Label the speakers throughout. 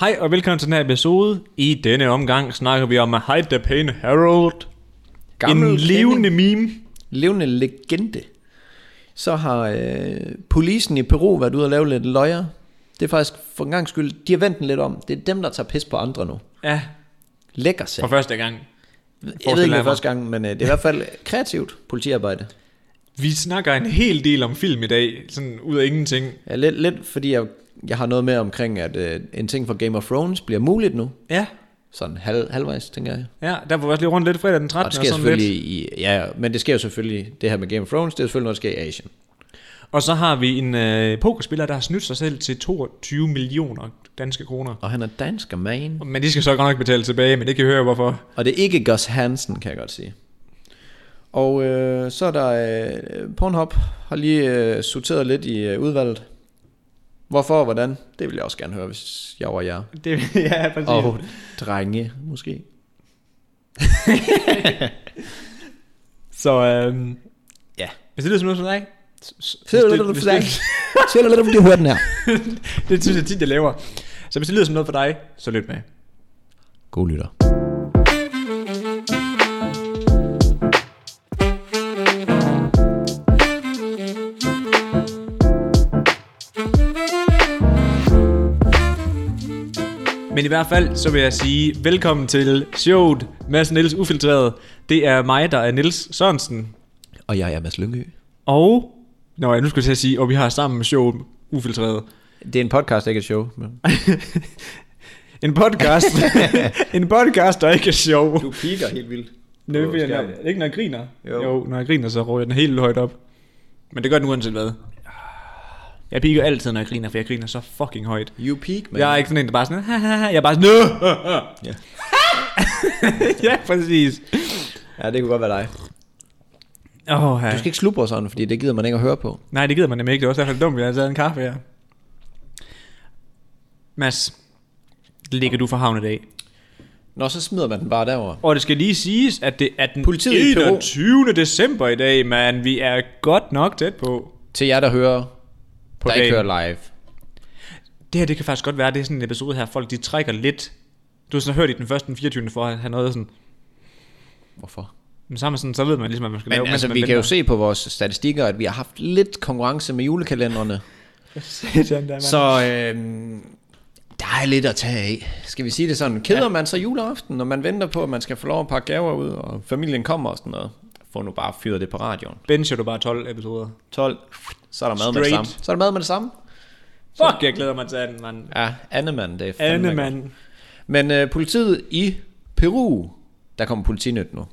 Speaker 1: Hej og velkommen til den her episode. I denne omgang snakker vi om Hide the Pain Harold.
Speaker 2: Gammel
Speaker 1: en levende meme.
Speaker 2: levende legende. Så har øh, polisen i Peru været ude og lave lidt løjer. Det er faktisk for en gang skyld, de har vendt den lidt om. Det er dem, der tager pis på andre nu.
Speaker 1: Ja,
Speaker 2: Lækker sag.
Speaker 1: for første gang.
Speaker 2: Jeg ved
Speaker 1: jeg
Speaker 2: ikke,
Speaker 1: mig.
Speaker 2: det første gang, men øh, det er i hvert fald kreativt politiarbejde.
Speaker 1: Vi snakker en hel del om film i dag, sådan ud af ingenting.
Speaker 2: Ja, lidt, lidt fordi jeg, jeg har noget med omkring, at øh, en ting fra Game of Thrones bliver muligt nu.
Speaker 1: Ja,
Speaker 2: Sådan halv, halvvejs, tænker jeg.
Speaker 1: ja der var vi også lige rundt lidt fredag den 13.
Speaker 2: Og det sker
Speaker 1: sådan lidt.
Speaker 2: selvfølgelig i, ja, men det sker jo selvfølgelig, det her med Game of Thrones, det er selvfølgelig noget, der sker i Asien.
Speaker 1: Og så har vi en øh, pokerspiller, der har snydt sig selv til 22 millioner danske kroner.
Speaker 2: Og han er dansker, man.
Speaker 1: Men de skal så godt nok betale tilbage, men det kan I høre hvorfor.
Speaker 2: Og det er ikke Gus Hansen, kan jeg godt sige. Og øh, så er der øh, Pornhub har lige øh, sorteret lidt i øh, udvalget. Hvorfor og hvordan? Det vil jeg også gerne høre, hvis jeg var jer.
Speaker 1: Det, ja, præcis.
Speaker 2: Og drenge, måske.
Speaker 1: Så øhm,
Speaker 2: Ja.
Speaker 1: hvis det lyder som noget for dig, s- s- hvis
Speaker 2: Sidder
Speaker 1: det-
Speaker 2: lidt om
Speaker 1: hvis
Speaker 2: det,
Speaker 1: det-
Speaker 2: Sidder lidt om det, hører den her.
Speaker 1: Det synes jeg tit, jeg laver. Så hvis det lyder som noget for dig, så lyt med.
Speaker 2: God lytter.
Speaker 1: Men i hvert fald, så vil jeg sige velkommen til showet Mads Niels Ufiltreret. Det er mig, der er Niels Sørensen.
Speaker 2: Og jeg er Mads Lyngø.
Speaker 1: Og... Nå, ja, nu skulle jeg til at sige, og vi har sammen showet Ufiltreret.
Speaker 2: Det er en podcast, ikke et show. Men...
Speaker 1: En podcast. en podcast, der ikke er sjov.
Speaker 2: Du piker helt vildt.
Speaker 1: Nå, fordi jeg- Ikke når jeg griner. Jo.
Speaker 2: Jo.
Speaker 1: jo. når jeg griner, så råber jeg den helt højt op. Men det gør den uanset hvad. Jeg piker altid, når jeg griner, for jeg griner så fucking højt.
Speaker 2: You peak, man.
Speaker 1: Jeg er ikke sådan en, der bare sådan, Hahaha. jeg er bare sådan, Nå! Ja.
Speaker 2: Ja.
Speaker 1: ja, præcis.
Speaker 2: Ja, det kunne godt være dig.
Speaker 1: Åh, oh,
Speaker 2: Du skal ikke slubre sådan, fordi det gider man ikke at høre på.
Speaker 1: Nej, det gider man nemlig ikke. Det er også derfor det er dumt, at jeg har taget en kaffe her. Mads, ligger du for havn i dag?
Speaker 2: Nå, så smider man den bare derover.
Speaker 1: Og det skal lige siges, at det er den
Speaker 2: Politiet i Peru.
Speaker 1: 21. december i dag, man. Vi er godt nok tæt på.
Speaker 2: Til jer, der hører, på der
Speaker 1: dagen.
Speaker 2: ikke hører live.
Speaker 1: Det her, det kan faktisk godt være, det er sådan en episode her, folk de trækker lidt. Du har sådan hørt i den første den 24. for at have noget sådan.
Speaker 2: Hvorfor?
Speaker 1: Men sammen sådan, så ved man ligesom, at man skal
Speaker 2: Men
Speaker 1: lave. mens
Speaker 2: altså,
Speaker 1: man
Speaker 2: vi kan jo
Speaker 1: venter.
Speaker 2: se på vores statistikker, at vi har haft lidt konkurrence med julekalenderne.
Speaker 1: Sådan der, mand.
Speaker 2: Så øh, der er lidt at tage af. Skal vi sige det sådan? Keder ja. man sig juleaften, når man venter på, at man skal få lov at pakke gaver ud, og familien kommer og sådan noget? Få nu bare fyret det på radioen.
Speaker 1: bencher du bare 12 episoder.
Speaker 2: 12. Så er der mad med det
Speaker 1: Straight.
Speaker 2: samme. Så er der mad med det samme.
Speaker 1: Fuck, jeg glæder mig til den, mand.
Speaker 2: Ja, Annemann, det er
Speaker 1: Anne,
Speaker 2: fandme godt.
Speaker 1: mand.
Speaker 2: Men øh, politiet i Peru, der kommer politinyt nu.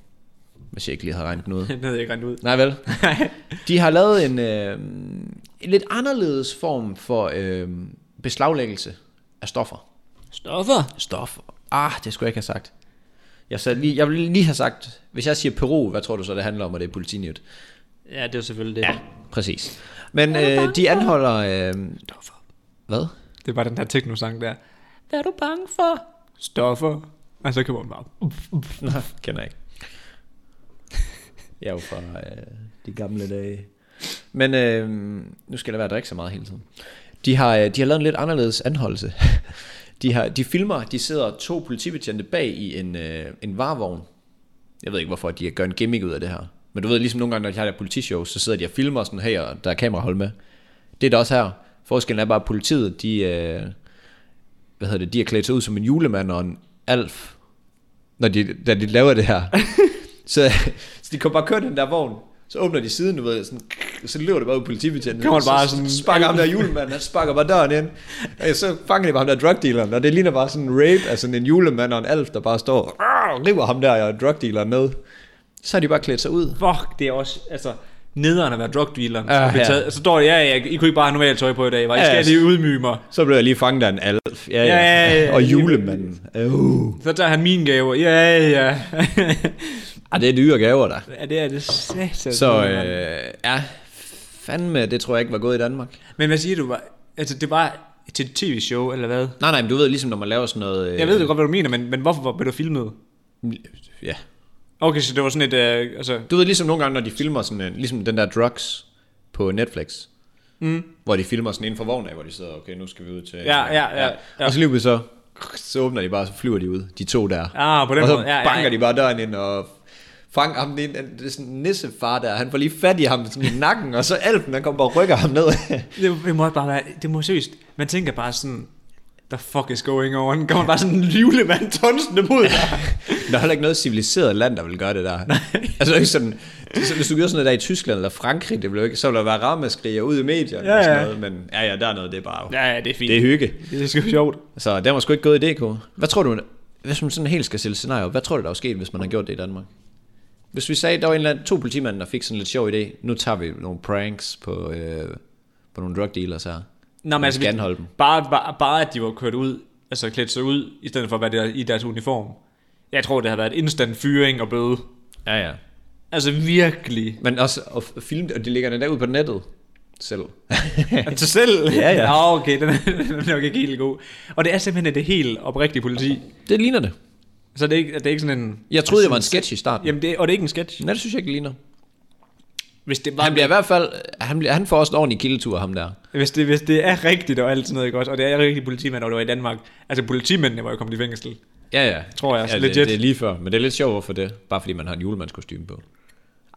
Speaker 2: Hvis jeg ikke lige havde regnet den ud.
Speaker 1: Det havde jeg ikke rent ud.
Speaker 2: Nej vel. De har lavet en, øh, en lidt anderledes form for øh, beslaglæggelse af stoffer.
Speaker 1: Stoffer?
Speaker 2: Stoffer? Ah, det skulle jeg ikke have sagt. Jeg, sagde lige, jeg ville lige have sagt, hvis jeg siger Peru, hvad tror du så, det handler om, og det er politinyt?
Speaker 1: Ja, det er selvfølgelig det. Ja.
Speaker 2: Præcis. Men øh, de anholder... Øh,
Speaker 1: Stoffer.
Speaker 2: hvad?
Speaker 1: Det var den der teknosang der. Hvad er du bange for? Stoffer. Og så kommer man bare.
Speaker 2: Nå, kender jeg ikke. Jeg er jo fra øh, de gamle dage. Men øh, nu skal der være at drikke så meget hele tiden. De har, øh, de har lavet en lidt anderledes anholdelse. De, har, de filmer, de sidder to politibetjente bag i en, øh, en varevogn. Jeg ved ikke, hvorfor de gør en gimmick ud af det her. Men du ved, ligesom nogle gange, når de har der politishow, så sidder de og filmer sådan her, og der er kamerahold med. Det er der også her. Forskellen er bare, at politiet, de, øh, hvad hedder det, de har klædt sig ud som en julemand og en alf når de, da de laver det her. så, så de kommer bare kørende den der vogn, så åbner de siden, du ved, sådan, så løber det bare ud i politibetjenten.
Speaker 1: Kommer
Speaker 2: så,
Speaker 1: bare
Speaker 2: så
Speaker 1: sådan-
Speaker 2: sparker ham der julemand, han sparker bare døren ind. Og ja, så fanger de bare ham der drugdealeren, og det ligner bare sådan en rape af sådan en julemand og en alf, der bare står og river ham der og drugdealeren med. Så har de bare klædt sig ud.
Speaker 1: Fuck, det er også, altså, nederen at være drug dealer.
Speaker 2: Ja,
Speaker 1: Ja,
Speaker 2: ja.
Speaker 1: ja. Så står det, ja, ja, I kunne ikke bare have normalt tøj på i dag, var I
Speaker 2: Ja,
Speaker 1: skal
Speaker 2: ja.
Speaker 1: lige udmyge mig.
Speaker 2: Så blev jeg lige fanget af en alf. Ja, ja.
Speaker 1: Ja, ja, ja.
Speaker 2: Og julemanden. Øh.
Speaker 1: Så tager han min gave. Ja, ja.
Speaker 2: Ah, det er dyre gaver, der.
Speaker 1: ja det er det satan.
Speaker 2: Så øh, ja, fandme, det tror jeg ikke var gået i Danmark.
Speaker 1: Men hvad siger du? Var, altså, det var til et tv-show, eller hvad?
Speaker 2: Nej, nej, men du ved ligesom, når man laver sådan noget... Øh,
Speaker 1: Jeg ved jo godt, hvad du mener, men, men hvorfor blev du filmet?
Speaker 2: Ja.
Speaker 1: Okay, så det var sådan et, øh, altså,
Speaker 2: Du ved ligesom nogle gange, når de filmer sådan en, ligesom den der Drugs på Netflix, mm. hvor de filmer sådan inden for vognen af, hvor de sidder, okay, nu skal vi ud til...
Speaker 1: Ja, ja, ja, ja.
Speaker 2: Og så lige pludselig så så åbner de bare, så flyver de ud, de to der.
Speaker 1: Ah, på den
Speaker 2: og så
Speaker 1: måde. Ja, ja,
Speaker 2: banker
Speaker 1: ja.
Speaker 2: de bare døren ind, og Frank, ham, det er en- det er sådan en nissefar der, han får lige fat i ham sådan i nakken, og så Alfen, han kommer bare og rykker ham ned.
Speaker 1: Det, det må bare være, det må seriøst. Man tænker bare sådan, the fuck is going on? Kommer bare sådan en livlemand tonsende mod dig.
Speaker 2: der er heller ikke noget civiliseret land, der vil gøre det der. altså, det er jo ikke sådan, så hvis du gjorde sådan noget der i Tyskland eller Frankrig, det ville jo ikke, så ville der være rammeskrig og ud i medierne
Speaker 1: Ja,
Speaker 2: ja, og sådan
Speaker 1: ja.
Speaker 2: noget, men ja, ja, der er noget, det er bare,
Speaker 1: ja, ja, det er fint.
Speaker 2: det er hygge.
Speaker 1: det er sgu sjovt.
Speaker 2: Så den var sgu ikke gået i DK. Hvad tror du, hvis man sådan helt skal stille scenario, hvad tror du, der var sket, hvis man har gjort det i Danmark? Hvis vi sagde, der var en eller anden, to politimænd, der fik sådan en lidt sjov idé, nu tager vi nogle pranks på, øh, på nogle drug dealers her.
Speaker 1: Nå, men
Speaker 2: Vi
Speaker 1: altså,
Speaker 2: skal anholde dem.
Speaker 1: Bare, bare, bare, at de var kørt ud, altså klædt sig ud, i stedet for at være der, i deres uniform. Jeg tror, det har været instant fyring og bøde.
Speaker 2: Ja, ja.
Speaker 1: Altså virkelig.
Speaker 2: Men også at f- filme det, og de ligger den der ud på nettet selv.
Speaker 1: Altså selv.
Speaker 2: Ja, ja.
Speaker 1: Nå, okay, den er, den er nok ikke helt god. Og det er simpelthen det helt oprigtige politi.
Speaker 2: det ligner det.
Speaker 1: Så det er ikke, det er ikke sådan en... Altså,
Speaker 2: Jeg troede, det var en sketch i starten.
Speaker 1: Jamen, det, og det er ikke en sketch.
Speaker 2: Men det synes jeg ikke det ligner.
Speaker 1: Hvis det,
Speaker 2: Han
Speaker 1: var,
Speaker 2: bliver i hvert fald, han, bliver, han får også en ordentlig kildetur, ham der.
Speaker 1: hvis, det, hvis det er rigtigt og alt sådan noget godt, og det er rigtig politimand, og det var i Danmark. Altså politimændene var jo kommet i fængsel.
Speaker 2: Ja, ja.
Speaker 1: Tror jeg,
Speaker 2: Ja, det,
Speaker 1: legit.
Speaker 2: det, er lige før, men det er lidt sjovt, hvorfor det. Bare fordi man har en julemandskostume på.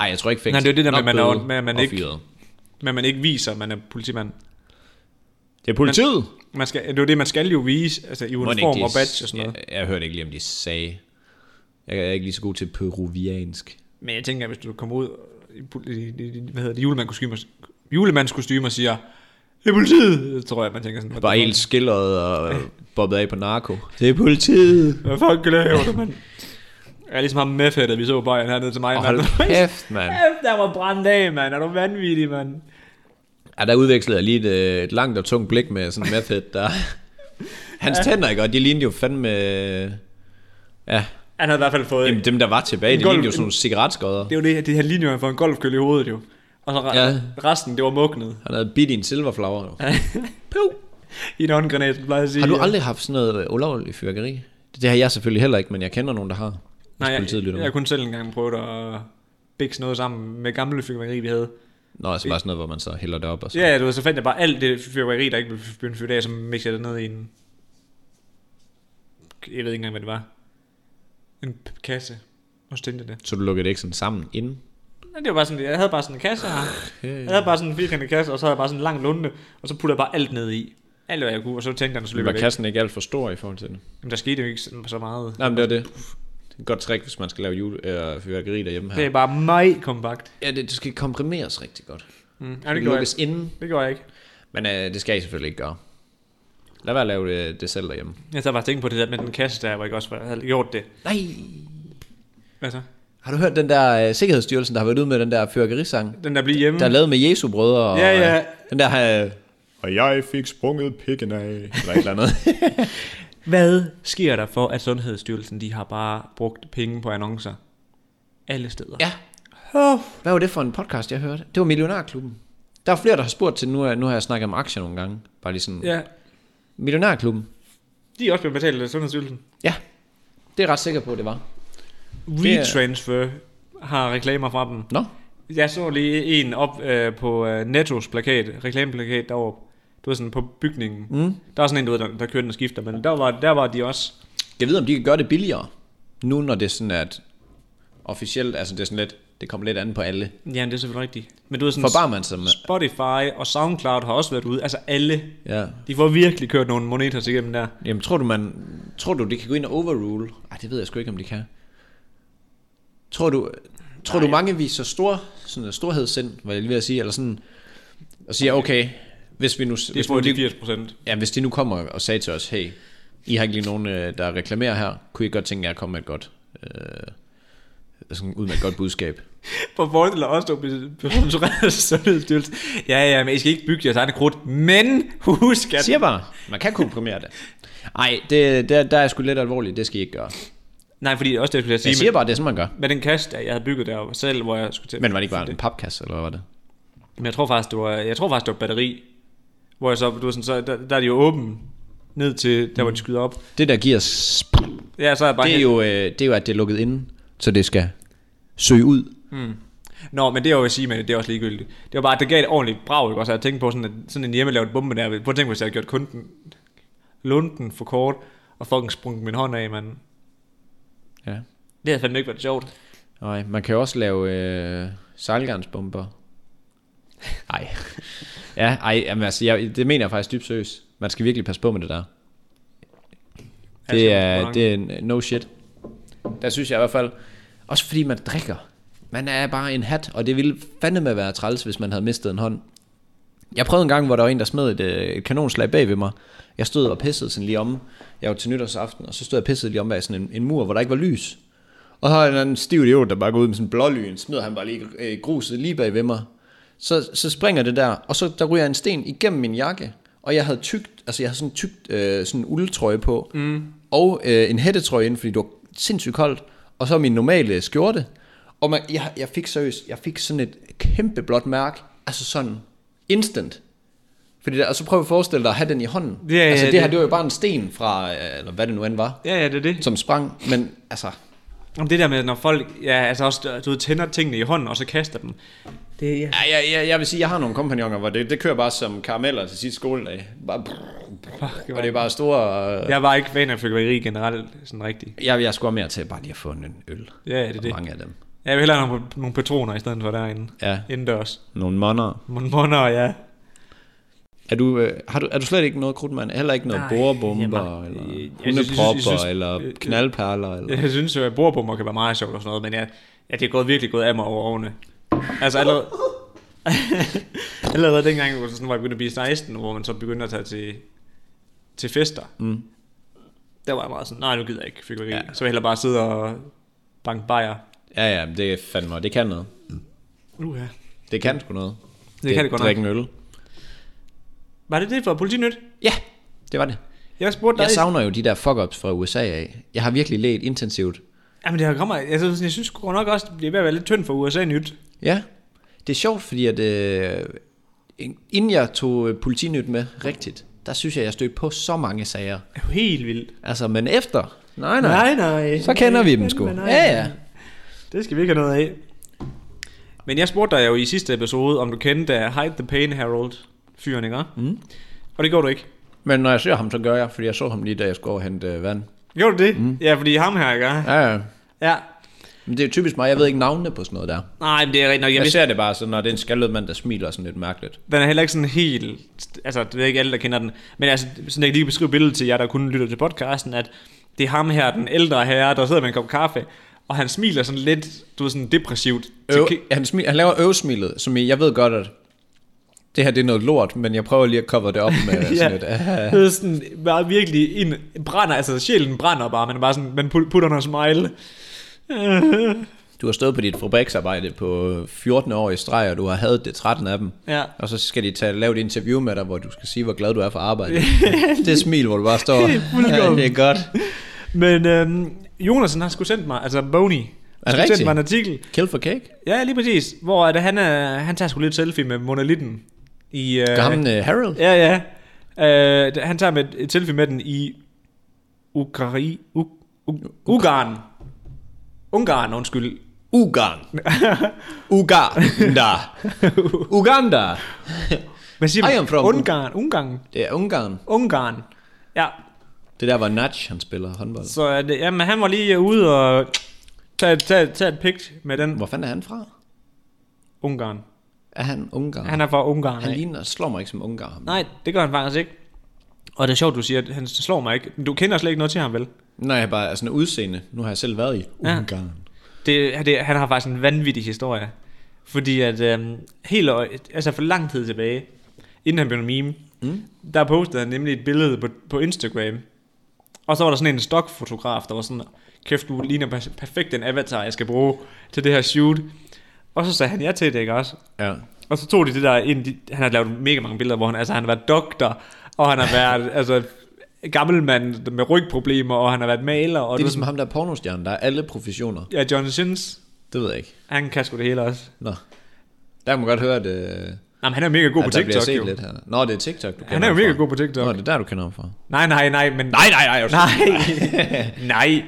Speaker 2: Ej, jeg tror ikke fængsel.
Speaker 1: Nej, det er det der med,
Speaker 2: Nok
Speaker 1: at man
Speaker 2: bøde
Speaker 1: er- med, at man
Speaker 2: og
Speaker 1: ikke-
Speaker 2: fyret.
Speaker 1: Men man ikke viser, at man er politimand.
Speaker 2: Det er politiet.
Speaker 1: Man skal, det er jo det, man skal jo vise, altså i
Speaker 2: Må den ikke,
Speaker 1: uniform
Speaker 2: de-
Speaker 1: og badge og sådan noget.
Speaker 2: Jeg, jeg hørte ikke lige, om de sagde. Jeg er ikke lige så god til peruviansk.
Speaker 1: Men jeg tænker, at hvis du kommer ud i, pol- i, i, i hvad hedder det, julemandskostymer, julemandskostymer siger, det er politiet, tror jeg, man tænker sådan.
Speaker 2: Bare helt skildret og øh, bobbet af på narko. Det er politiet.
Speaker 1: Hvad fuck laver du, mand? Jeg er ligesom ham med fættet, vi så bare hernede til mig.
Speaker 2: Og hold kæft, mand.
Speaker 1: Kæft, der var brændt af, mand. Er du vanvittig, mand?
Speaker 2: Ja, der udvekslede jeg lige et, øh, et langt og tungt blik med sådan en method, der... Hans tænder, ikke? Og de lignede jo fandme... øh, Ja,
Speaker 1: Han havde i hvert fald fået...
Speaker 2: Jamen, dem der var tilbage,
Speaker 1: En
Speaker 2: de
Speaker 1: golf-
Speaker 2: lignede jo sådan nogle cigaretskodder.
Speaker 1: Det er jo det, det her linje, han får en golfkølle i hovedet jo. Og så re-
Speaker 2: Ja.
Speaker 1: resten, det var mugnet.
Speaker 2: Han havde bidt i en silverflower. jo.
Speaker 1: Puh. I en håndgranat, som plejer at sige.
Speaker 2: Har du aldrig haft sådan noget øh, ulovligt fyrværkeri? Det har jeg selvfølgelig heller ikke, men jeg kender nogen, der har. Hvis
Speaker 1: Nej, jeg,
Speaker 2: politiet
Speaker 1: jeg,
Speaker 2: lytter med.
Speaker 1: jeg kunne selv engang prøvet at bikse noget sammen med gamle fyrværkeri, vi havde.
Speaker 2: Nå, altså bare sådan noget, hvor man så hælder det op og så.
Speaker 1: Ja, ja, du ved, så fandt jeg bare alt det fyrværkeri, der ikke blev begyndt fyrt af, som mixede det ned i en... Jeg ved ikke engang, hvad det var. En p- kasse. Og så tænkte jeg det.
Speaker 2: Så du lukkede det ikke sådan sammen inden?
Speaker 1: Nej, det var bare sådan, jeg havde bare sådan en kasse her. Jeg
Speaker 2: Det
Speaker 1: havde bare sådan en firkantet kasse, og så havde jeg bare sådan en lang lunde, og så puttede jeg bare alt ned i. Alt, hvad jeg kunne, og så tænkte jeg, at så løb
Speaker 2: var
Speaker 1: jeg væk.
Speaker 2: kassen ikke alt for stor i forhold til det.
Speaker 1: Jamen, der skete jo ikke sådan så meget.
Speaker 2: Nej, men det var det. Det er et godt trick, hvis man skal lave jule, øh, fyrværkeri derhjemme
Speaker 1: Det er
Speaker 2: her.
Speaker 1: bare meget kompakt.
Speaker 2: Ja, det, det skal komprimeres rigtig godt.
Speaker 1: Mm. Ja,
Speaker 2: Ja,
Speaker 1: det
Speaker 2: det
Speaker 1: gjorde jeg.
Speaker 2: lukkes inden.
Speaker 1: Det gjorde jeg ikke.
Speaker 2: Men øh, det skal I selvfølgelig ikke gøre. Lad være at lave øh, det, det selv derhjemme.
Speaker 1: Jeg så bare tænke på det der med den kasse der, hvor jeg også var- havde gjort det.
Speaker 2: Nej!
Speaker 1: Hvad så?
Speaker 2: Har du hørt den der øh, Sikkerhedsstyrelsen, der har været ude med den der fyrværkerisang?
Speaker 1: Den der blive hjemme.
Speaker 2: Der er lavet med Jesu brødre. Og,
Speaker 1: Ja, ja.
Speaker 2: øh, Den der har...
Speaker 3: Og jeg fik sprunget pikken af. Eller
Speaker 2: Eller et eller andet.
Speaker 1: Hvad sker der for, at Sundhedsstyrelsen de har bare brugt penge på annoncer? Alle steder.
Speaker 2: ja.
Speaker 1: Oh.
Speaker 2: Hvad var det for en podcast, jeg hørte? Det var Millionærklubben. Der er flere, der har spurgt til, nu, er- nu har jeg snakket om aktier nogle gange. Bare lige sådan,
Speaker 1: ja.
Speaker 2: Millionærklubben.
Speaker 1: De er også blevet betalt af Sundhedsstyrelsen.
Speaker 2: Ja, det er jeg ret sikker på, det var. Det er-
Speaker 1: WeTransfer har reklamer fra dem.
Speaker 2: Nå,
Speaker 1: Jeg så lige en op øh, på øh, Nettos plakat, reklameplakat deroppe. Du ved sådan på bygningen. Mm. Der er sådan en, du ved, der, der kører den og skifter, men der var, der var de også.
Speaker 2: jeg ved, om de kan gøre det billigere. Nu, når det er sådan, at officielt, altså det er sådan lidt, det kommer lidt an på alle.
Speaker 1: Ja, det er selvfølgelig rigtigt. Men du ved sådan,
Speaker 2: For bare man som...
Speaker 1: Spotify og SoundCloud har også været ude. Altså alle.
Speaker 2: Ja.
Speaker 1: De får virkelig kørt nogle moneter igennem der.
Speaker 2: Jamen, tror du, man, tror du, det kan gå ind og overrule? Ej, det ved jeg sgu ikke, om de kan. Tror du, tror du mange viser stor, sådan en storhedssind, var jeg lige ved at sige, eller sådan, og siger, okay, hvis vi nu...
Speaker 1: Det er
Speaker 2: hvis,
Speaker 1: på
Speaker 2: nu
Speaker 1: de
Speaker 2: de,
Speaker 1: 80 procent.
Speaker 2: ja, hvis de nu kommer og sagde til os, hey, I har ikke lige nogen, øh, der reklamerer her, kunne I godt tænke jer at komme med et godt, øh, sådan ud med et godt budskab?
Speaker 1: For fordel af os, der bliver sponsoreret af Sundhedsstyrelsen. Ja, ja, men I skal ikke bygge jeres egne krudt, men husk
Speaker 2: Jeg
Speaker 1: at...
Speaker 2: siger bare, man kan komprimere det. Ej, det, der, der er jeg sgu lidt alvorligt, det skal I ikke gøre.
Speaker 1: Nej, fordi det er også det, jeg skulle til
Speaker 2: Jeg
Speaker 1: at sige,
Speaker 2: siger
Speaker 1: men,
Speaker 2: bare, det er sådan, man gør.
Speaker 1: med den kasse, der jeg havde bygget der selv, hvor jeg skulle til...
Speaker 2: Men var det ikke bare en papkasse, eller hvad var det?
Speaker 1: Men jeg tror faktisk, det var, jeg tror faktisk, det var batteri, hvor jeg så, du ved sådan, så der, der er de jo åben ned til, der hvor de skyder op.
Speaker 2: Det, der giver sp-
Speaker 1: Ja, så er jeg bare...
Speaker 2: Mm. Det er, jo, øh, det er jo, at det er lukket inde, så det skal søge ud.
Speaker 1: Nå, men det er jo at sige, men det er også ligegyldigt. Det var bare, at det gav et ordentligt brag, ikke? Også at jeg tænkte på sådan, at sådan en hjemmelavet bombe der. Prøv at tænke, hvis jeg havde gjort kunden lunden for kort, og fucking sprunget min hånd af, mand.
Speaker 2: Ja.
Speaker 1: Det havde fandme ikke været sjovt.
Speaker 2: Nej, man kan jo også lave øh, sejlgarnsbomber. Nej. ja, ej, jamen, altså, jeg, det mener jeg faktisk dybt seriøst. Man skal virkelig passe på med det der.
Speaker 1: Altså,
Speaker 2: Det er,
Speaker 1: restaurant.
Speaker 2: det er en- no shit. Der synes jeg i hvert fald, også fordi man drikker. Man er bare en hat, og det ville fandeme være træls, hvis man havde mistet en hånd. Jeg prøvede en gang, hvor der var en, der smed et, øh, et kanonslag bag ved mig. Jeg stod og pissede sådan lige om. Jeg var til nytårsaften, og så stod jeg og pissede lige om bag sådan en, en mur, hvor der ikke var lys. Og så har jeg en anden stiv idiot, der bare går ud med sådan en blålyn, smider han bare lige øh, gruset lige bag ved mig. Så, så springer det der, og så der ryger en sten igennem min jakke, og jeg havde tykt, altså jeg havde sådan en tykt øh, sådan en uldtrøje på, mm. og øh, en hættetrøje ind, fordi det var sindssygt koldt, og så min normale skjorte. Og man, jeg, jeg fik seriøst, jeg fik sådan et kæmpe blåt mærke, altså sådan instant. Fordi der, og så prøv at forestille dig at have den i hånden.
Speaker 1: Ja, ja,
Speaker 2: altså det,
Speaker 1: det-
Speaker 2: her, det var jo bare en sten fra, øh, eller hvad det nu end var,
Speaker 1: Ja, ja, det er det.
Speaker 2: som sprang, men altså,
Speaker 1: Om det der med, når folk ja, altså også, du ved, tænder tingene i hånden, og så kaster dem. Det, ja.
Speaker 2: Ja, jeg, jeg, jeg vil sige, jeg har nogle kompagnoner, hvor det, det kører bare som karameller til sidste skoledag. Bare brrr,
Speaker 1: Fuck,
Speaker 2: og det er bare store... Øh,
Speaker 1: Jeg var ikke fan af fyrværkeri generelt, sådan rigtigt.
Speaker 2: jeg, jeg skulle mere til bare lige at få en øl.
Speaker 1: Ja, det er
Speaker 2: Og
Speaker 1: det.
Speaker 2: Mange af dem.
Speaker 1: Jeg vil hellere have nogle, nogle patroner i stedet for derinde.
Speaker 2: Ja.
Speaker 1: Indendørs.
Speaker 2: Nogle monner.
Speaker 1: Monmoner, ja.
Speaker 2: Er du, øh, har du, er du slet ikke noget krudtmand? Heller ikke noget
Speaker 1: Nej,
Speaker 2: borebomber,
Speaker 1: jamen,
Speaker 2: eller
Speaker 1: øh, jeg synes- jeg synes- jeg synes-
Speaker 2: hundepropper, eller
Speaker 1: øh,
Speaker 2: knaldperler? Eller?
Speaker 1: Jeg synes jo, at bordbomber kan være meget sjovt og sådan noget, men jeg, ja, det er gået virkelig gået af mig over årene. Altså allerede... allerede dengang, hvor, sådan, hvor jeg begyndte at blive 16, hvor man så begyndte at tage til, til fester.
Speaker 2: Mm.
Speaker 1: Der var jeg meget sådan, nej, nu gider jeg ikke fyrværkeri. Ja. Så vil jeg hellere bare sidde og banke bajer.
Speaker 2: Ja, ja, men det er fandme, det kan noget.
Speaker 1: Uh, ja.
Speaker 2: Det kan sgu noget.
Speaker 1: Det kan det godt nok.
Speaker 2: drikke en øl.
Speaker 1: Var det det for politinyt?
Speaker 2: Ja, det var det.
Speaker 1: Jeg spurgte dig...
Speaker 2: Jeg savner jo de der fuck-ups fra USA af. Jeg har virkelig let intensivt
Speaker 1: Jamen det her kommer... Altså, sådan, jeg synes sgu nok også, det er ved at være lidt tyndt for USA nyt.
Speaker 2: Ja, det er sjovt, fordi at, øh, en- inden jeg tog øh, politinyt med rigtigt, der synes jeg, jeg stødte på så mange sager.
Speaker 1: Det er jo helt vildt.
Speaker 2: Altså, men efter, nej nej, nej.
Speaker 1: nej.
Speaker 2: så kender vi dem sgu.
Speaker 1: Fandme nej.
Speaker 2: Ja, ja.
Speaker 1: Det skal vi ikke have noget af. Men jeg spurgte dig jo i sidste episode, om du kendte øh, Hide the Pain Harold fyren, ikke? Mm. Og det gjorde du ikke.
Speaker 2: Men når jeg ser ham, så gør jeg, fordi jeg så ham lige, da jeg skulle over og hente øh, vand.
Speaker 1: Gjorde du det? Mm. Ja, fordi ham her, ikke? Ja.
Speaker 2: Ja, ja.
Speaker 1: ja.
Speaker 2: Men det er jo typisk mig, jeg ved ikke navnene på sådan noget der.
Speaker 1: Nej, men det er rigtigt nok. Jeg
Speaker 2: Jeg
Speaker 1: vidste,
Speaker 2: ser det bare sådan, når det er en skaldet mand, der smiler sådan lidt mærkeligt.
Speaker 1: Altså, den er heller ikke sådan helt... Altså, det er ikke alle, der kender den. Men altså, sådan jeg kan lige beskrive billedet til jer, der kun lytter til podcasten, at det er ham her, den ældre herre, der sidder med en kop kaffe, og han smiler sådan lidt, du ved, sådan depressivt. til
Speaker 2: Øv,
Speaker 1: ki-
Speaker 2: han, smil, han laver øvsmilet, som i, jeg ved godt, at det her det er noget lort, men jeg prøver lige at cover det op med ja. sådan Ah. et...
Speaker 1: ja. Det er sådan, bare virkelig en, brænder, altså sjælen brænder bare, man er bare sådan, man put- putter noget smile.
Speaker 2: Du har stået på dit fabriksarbejde på 14 år i streg, og du har hadet det 13 af dem.
Speaker 1: Ja.
Speaker 2: Og så skal de tage, lave et interview med dig, hvor du skal sige, hvor glad du er for arbejde. det er smil, hvor du bare står.
Speaker 1: fuldkommen.
Speaker 2: det er godt.
Speaker 1: Men øhm, Jonasen har sgu sendt mig, altså Boney, har sgu
Speaker 2: rigtigt?
Speaker 1: sendt mig en artikel.
Speaker 2: Kill for cake.
Speaker 1: Ja, lige præcis, hvor at han, er, han tager sgu lidt selfie med monolitten. I, øh,
Speaker 2: Gammel uh, Harold.
Speaker 1: Ja, ja. Øh, han tager med et selfie med den i Ukari, U, U, Ungarn. Ungarn, undskyld.
Speaker 2: Ugan. Uganda. Uganda.
Speaker 1: Hvad siger
Speaker 2: I
Speaker 1: man?
Speaker 2: am from U-
Speaker 1: Ungarn, Ungarn,
Speaker 2: Det er Ungarn.
Speaker 1: Ungarn. Ja,
Speaker 2: Det der var Natch, han spiller håndbold.
Speaker 1: Så er det, jamen, han var lige ude og tage, tage, tage et pigt med den
Speaker 2: Hvor fanden er han fra?
Speaker 1: Ungarn.
Speaker 2: Er han Ungarn?
Speaker 1: Han er fra Ungarn.
Speaker 2: han
Speaker 1: af.
Speaker 2: ligner, slår mig ikke som Ungarn. ham.
Speaker 1: Ah, Nej, det gør han faktisk ikke. Og det er sjovt, du siger, at han slår mig ikke. Men Du kender slet ikke noget til ham, vel?
Speaker 2: Nej, jeg bare altså, udseende. Nu har jeg selv været i
Speaker 1: Ja.
Speaker 2: Ungarn.
Speaker 1: Det, det, han har faktisk en vanvittig historie. Fordi at øhm, helt, ø- altså for lang tid tilbage, inden han blev en meme, mm. der postede han nemlig et billede på, på Instagram. Og så var der sådan en stokfotograf, der var sådan, kæft, du ligner per- perfekt den avatar, jeg skal bruge til det her shoot. Og så sagde han ja til det, ikke også?
Speaker 2: Ja.
Speaker 1: Og så tog de det der ind, de, han har lavet mega mange billeder, hvor han, altså, han har været doktor, og han har været altså, gammel mand med rygproblemer, og han har været maler, og
Speaker 2: Det er
Speaker 1: du-
Speaker 2: ligesom ham der pornostjerne, der er alle professioner.
Speaker 1: ja, John Sins,
Speaker 2: Det ved jeg ikke.
Speaker 1: han kan sgu det hele også.
Speaker 2: Nå. Der kan man godt høre, at, øh,
Speaker 1: Jamen, han er mega god på
Speaker 2: at der bliver
Speaker 1: TikTok,
Speaker 2: set
Speaker 1: jo.
Speaker 2: lidt her. Nå, det er TikTok, du kender
Speaker 1: Han er jo
Speaker 2: ham
Speaker 1: mega
Speaker 2: fra.
Speaker 1: god på
Speaker 2: Nå,
Speaker 1: TikTok.
Speaker 2: det er der, du kender ham fra.
Speaker 1: Nej, nej, nej, men...
Speaker 2: Nej, nej, nej.
Speaker 1: nej. nej.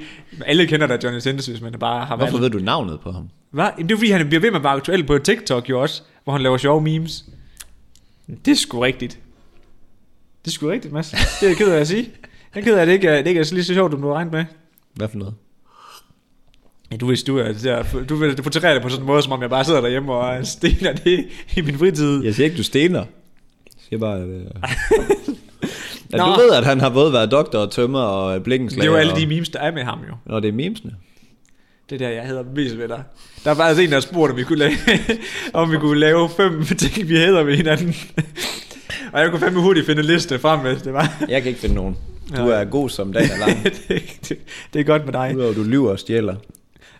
Speaker 1: Alle kender da Johnny Sins, hvis man bare har
Speaker 2: Hvorfor
Speaker 1: været...
Speaker 2: ved du navnet på ham?
Speaker 1: Hvad? Jamen, det er fordi, han bliver ved med at være aktuel på TikTok jo også, hvor han laver sjove memes. Det er sgu rigtigt. Det er sgu rigtigt, Mads. Det er jeg ked af at sige. Jeg er ked af, at det ikke er, det ikke er så lige så sjovt, som du havde regnet med.
Speaker 2: Hvad for noget?
Speaker 1: Ja, du vidste, du, er, der- du vil portrættere det på sådan en måde, som om jeg bare sidder derhjemme og stener det i min fritid.
Speaker 2: Jeg siger ikke, du stener. Jeg siger bare, at... Øh... ja,
Speaker 1: Nå.
Speaker 2: du ved, at han har både været doktor og tømmer og øh, blikkenslager.
Speaker 1: Det er jo alle
Speaker 2: og...
Speaker 1: de memes, der er med ham jo.
Speaker 2: Nå, det er memesene.
Speaker 1: Det er der, jeg hedder mest ved dig. Der er faktisk en, der har spurgt, om vi kunne lave, om vi kunne lave fem ting, vi hedder ved hinanden. og jeg kunne fandme hurtigt finde en liste frem, hvis det var.
Speaker 2: Jeg kan ikke finde nogen. Du
Speaker 1: Nej.
Speaker 2: er god som dag er lang.
Speaker 1: det, det, det er godt med dig.
Speaker 2: Udover at du lyver og stjæler.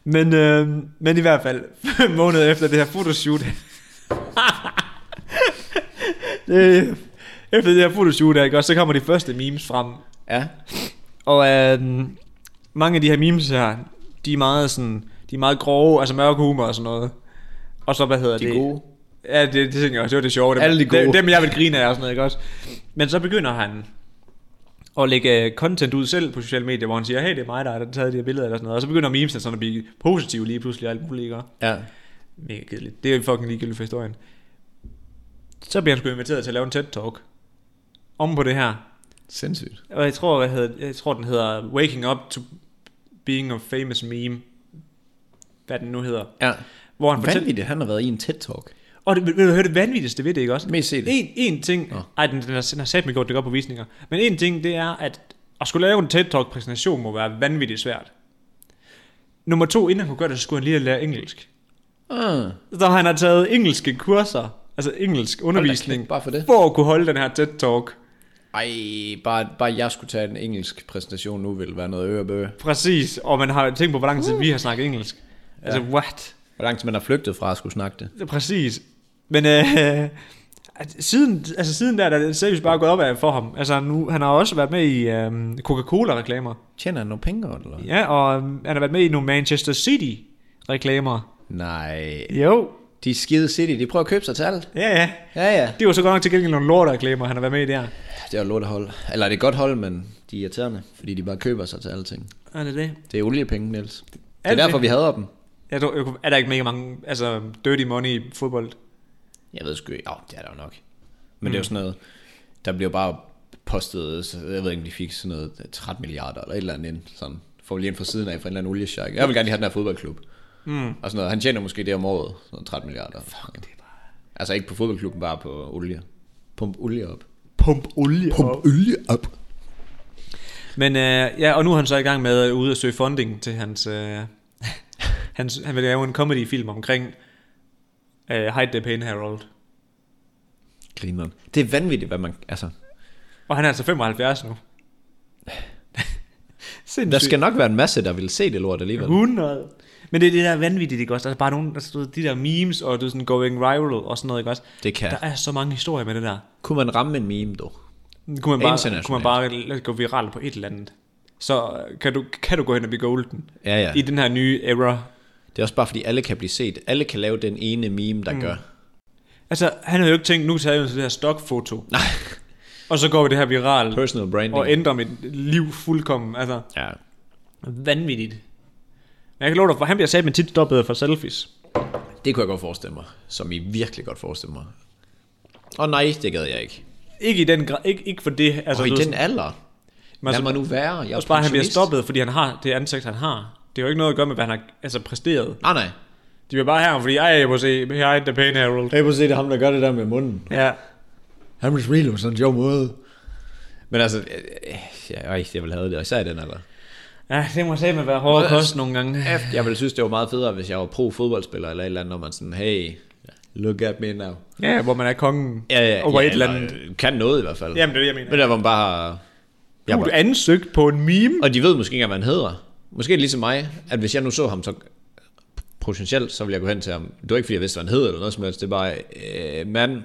Speaker 1: Men, øh, men i hvert fald, fem måneder efter det her fotoshoot. det, efter det her fotoshoot, ikke, også, så kommer de første memes frem.
Speaker 2: Ja.
Speaker 1: Og øh, mange af de her memes her, de er meget sådan, de er meget grove, altså mørk humor og sådan noget. Og så, hvad hedder
Speaker 2: De
Speaker 1: det?
Speaker 2: er gode.
Speaker 1: Ja, det, det tænker jeg også, det var det sjove. Dem,
Speaker 2: Alle de gode.
Speaker 1: Dem, dem, jeg vil grine af og sådan noget, ikke også? Men så begynder han at lægge øh, content ud selv på sociale medier, hvor han siger, hey, det er mig, der har taget de her billeder eller sådan noget. Og så begynder memesene sådan at blive positive lige pludselig og alt muligt, ikke?
Speaker 2: Ja.
Speaker 1: Mega kedeligt. Det er jo fucking ligegyldigt for historien. Så bliver han sgu inviteret til at lave en TED-talk om på det her.
Speaker 2: Sindssygt.
Speaker 1: Og jeg tror, hvad hedder, jeg tror, den hedder Waking Up to Being a Famous Meme. Hvad den nu hedder.
Speaker 2: Ja.
Speaker 1: Hvor han fortæller...
Speaker 2: Vanvittigt, han har været i en TED-talk.
Speaker 1: Og det, vil, vil du høre det vanvittigste ved det, ikke også?
Speaker 2: Mest set.
Speaker 1: En, en ting...
Speaker 2: Nå.
Speaker 1: Ej, den, den har, den har sat mig godt, det går på visninger. Men en ting, det er, at at skulle lave en TED-talk-præsentation må være vanvittigt svært. Nummer to, inden han kunne gøre det, så skulle han lige lære engelsk.
Speaker 2: Ah,
Speaker 1: Så han har taget engelske kurser, altså engelsk
Speaker 2: kæft,
Speaker 1: undervisning,
Speaker 2: bare for det.
Speaker 1: for at kunne holde den her TED-talk.
Speaker 2: ej, bare, bare jeg skulle tage en engelsk præsentation nu, ville være noget ørebøge.
Speaker 1: Præcis, og man har tænkt på, hvor
Speaker 2: Uh.
Speaker 1: lang tid vi har snakket engelsk. Altså, what?
Speaker 2: Hvor lang tid man har flygtet fra at skulle snakke det.
Speaker 1: Præcis. Men øh, at siden, altså siden der, der er det seriøst bare gået op af for ham. Altså nu, han har også været med i øh, Coca-Cola-reklamer.
Speaker 2: Tjener han nogle penge, eller? Ja.
Speaker 1: Ja, og øh, han har været med i nogle Manchester City-reklamer.
Speaker 2: Nej.
Speaker 1: Jo.
Speaker 2: De er skide city, de prøver at købe sig til alt.
Speaker 1: Ja, ja.
Speaker 2: Ja, ja.
Speaker 1: Det var så godt nok til gengæld nogle lort-reklamer, han har været med i der.
Speaker 2: Det er jo lort hold. Eller det er et godt hold, men de er irriterende, fordi de bare køber sig til alting.
Speaker 1: Er det det?
Speaker 2: Det er oliepenge, Niels. Det er
Speaker 1: Alt det.
Speaker 2: derfor, vi hader dem.
Speaker 1: Jeg tror, jeg kunne- er der ikke mega mange altså, dirty money i fodbold?
Speaker 2: Jeg ved sgu ikke. Oh, det er der jo nok. Men mm. det er jo sådan noget, der bliver bare postet, så jeg ved ikke, om de fik sådan noget 13 milliarder eller et eller andet ind, sådan. Får lige ind fra siden af fra en eller anden oliesjak. Jeg vil gerne lige have den her fodboldklub. Mm. Og sådan noget. Han tjener måske det om året, sådan 13 milliarder. Fuck, det er bare... Altså ikke på fodboldklubben, bare på olie. Pump olie op.
Speaker 1: Pump olie op.
Speaker 2: olie op.
Speaker 1: Men øh, ja, og nu er han så i gang med at ude og søge funding til hans... Øh, hans han vil lave en comedy-film omkring øh, Hide the Pain Harold.
Speaker 2: Grineren. Det er vanvittigt, hvad man... Altså,
Speaker 1: Og han er altså 75 nu. Sindssygt.
Speaker 2: der skal nok være en masse, der vil se det lort alligevel.
Speaker 1: 100. Men det er det der er vanvittigt, ikke også? Der er bare nogle, altså, du ved, de der memes, og du ved, sådan going viral og sådan noget, ikke også?
Speaker 2: Det kan.
Speaker 1: Der er så mange historier med det der.
Speaker 2: Kunne man ramme en meme, dog?
Speaker 1: Kunne man bare,
Speaker 2: Internationalt.
Speaker 1: kunne man bare gå viral på et eller andet. Så øh, kan du, kan du gå hen og blive golden.
Speaker 2: Ja, ja.
Speaker 1: I den her nye era.
Speaker 2: Det er også bare, fordi alle kan blive set. Alle kan lave den ene meme, der mm. gør.
Speaker 1: Altså, han havde jo ikke tænkt, nu tager jeg det her stokfoto,
Speaker 2: Nej.
Speaker 1: og så går vi det her viralt,
Speaker 2: Personal branding.
Speaker 1: og ændrer mit liv fuldkommen. Altså,
Speaker 2: Ja.
Speaker 1: vanvittigt. Men jeg kan love dig, for han bliver sat med tit stoppet for selfies.
Speaker 2: Det kunne jeg godt forestille mig. Som I virkelig godt forestille mig. Og nej, det gad jeg ikke.
Speaker 1: Ikke i den grad, ikke, ikke for det. Altså,
Speaker 2: Altså, og i
Speaker 1: du ved,
Speaker 2: den alder.
Speaker 1: Men altså,
Speaker 2: Lad mig nu være. Jeg er
Speaker 1: også bare, han bliver
Speaker 2: pensionist.
Speaker 1: stoppet, fordi han har det ansigt, han har. Det er jo ikke noget at gøre med, hvad han har altså, præsteret.
Speaker 2: Ah, Nej, nej.
Speaker 1: De bliver bare her, fordi, ej, jeg må se, her er the pain, Harold.
Speaker 2: Hey, prøv at se, det er ham, der gør det der med munden.
Speaker 1: Ja.
Speaker 2: Han vil smile på sådan en sjov måde. Men altså, øh, øh, ja, ej, jeg vil have det, og især i den alder.
Speaker 1: Ja, det må sige med at være hård kost nogle gange.
Speaker 2: Jeg ville synes, det var meget federe, hvis jeg var pro-fodboldspiller eller et eller andet, når man sådan, hey, look at me now.
Speaker 1: Ja, hvor man er kongen
Speaker 2: Ja, ja,
Speaker 1: over
Speaker 2: ja,
Speaker 1: et eller andet.
Speaker 2: øh, Kan noget i hvert fald.
Speaker 1: Jamen, det er det, jeg mener.
Speaker 2: Men der var man bare... Jeg
Speaker 1: Uh,
Speaker 2: var,
Speaker 1: du ansøgt på en meme.
Speaker 2: og de ved måske ikke, hvad han hedder. Måske er det ligesom mig, at hvis jeg nu så ham, så potentielt, så ville jeg gå hen til ham. Det var ikke, fordi jeg vidste, hvad han hed eller noget som helst. Det er bare, øh, mand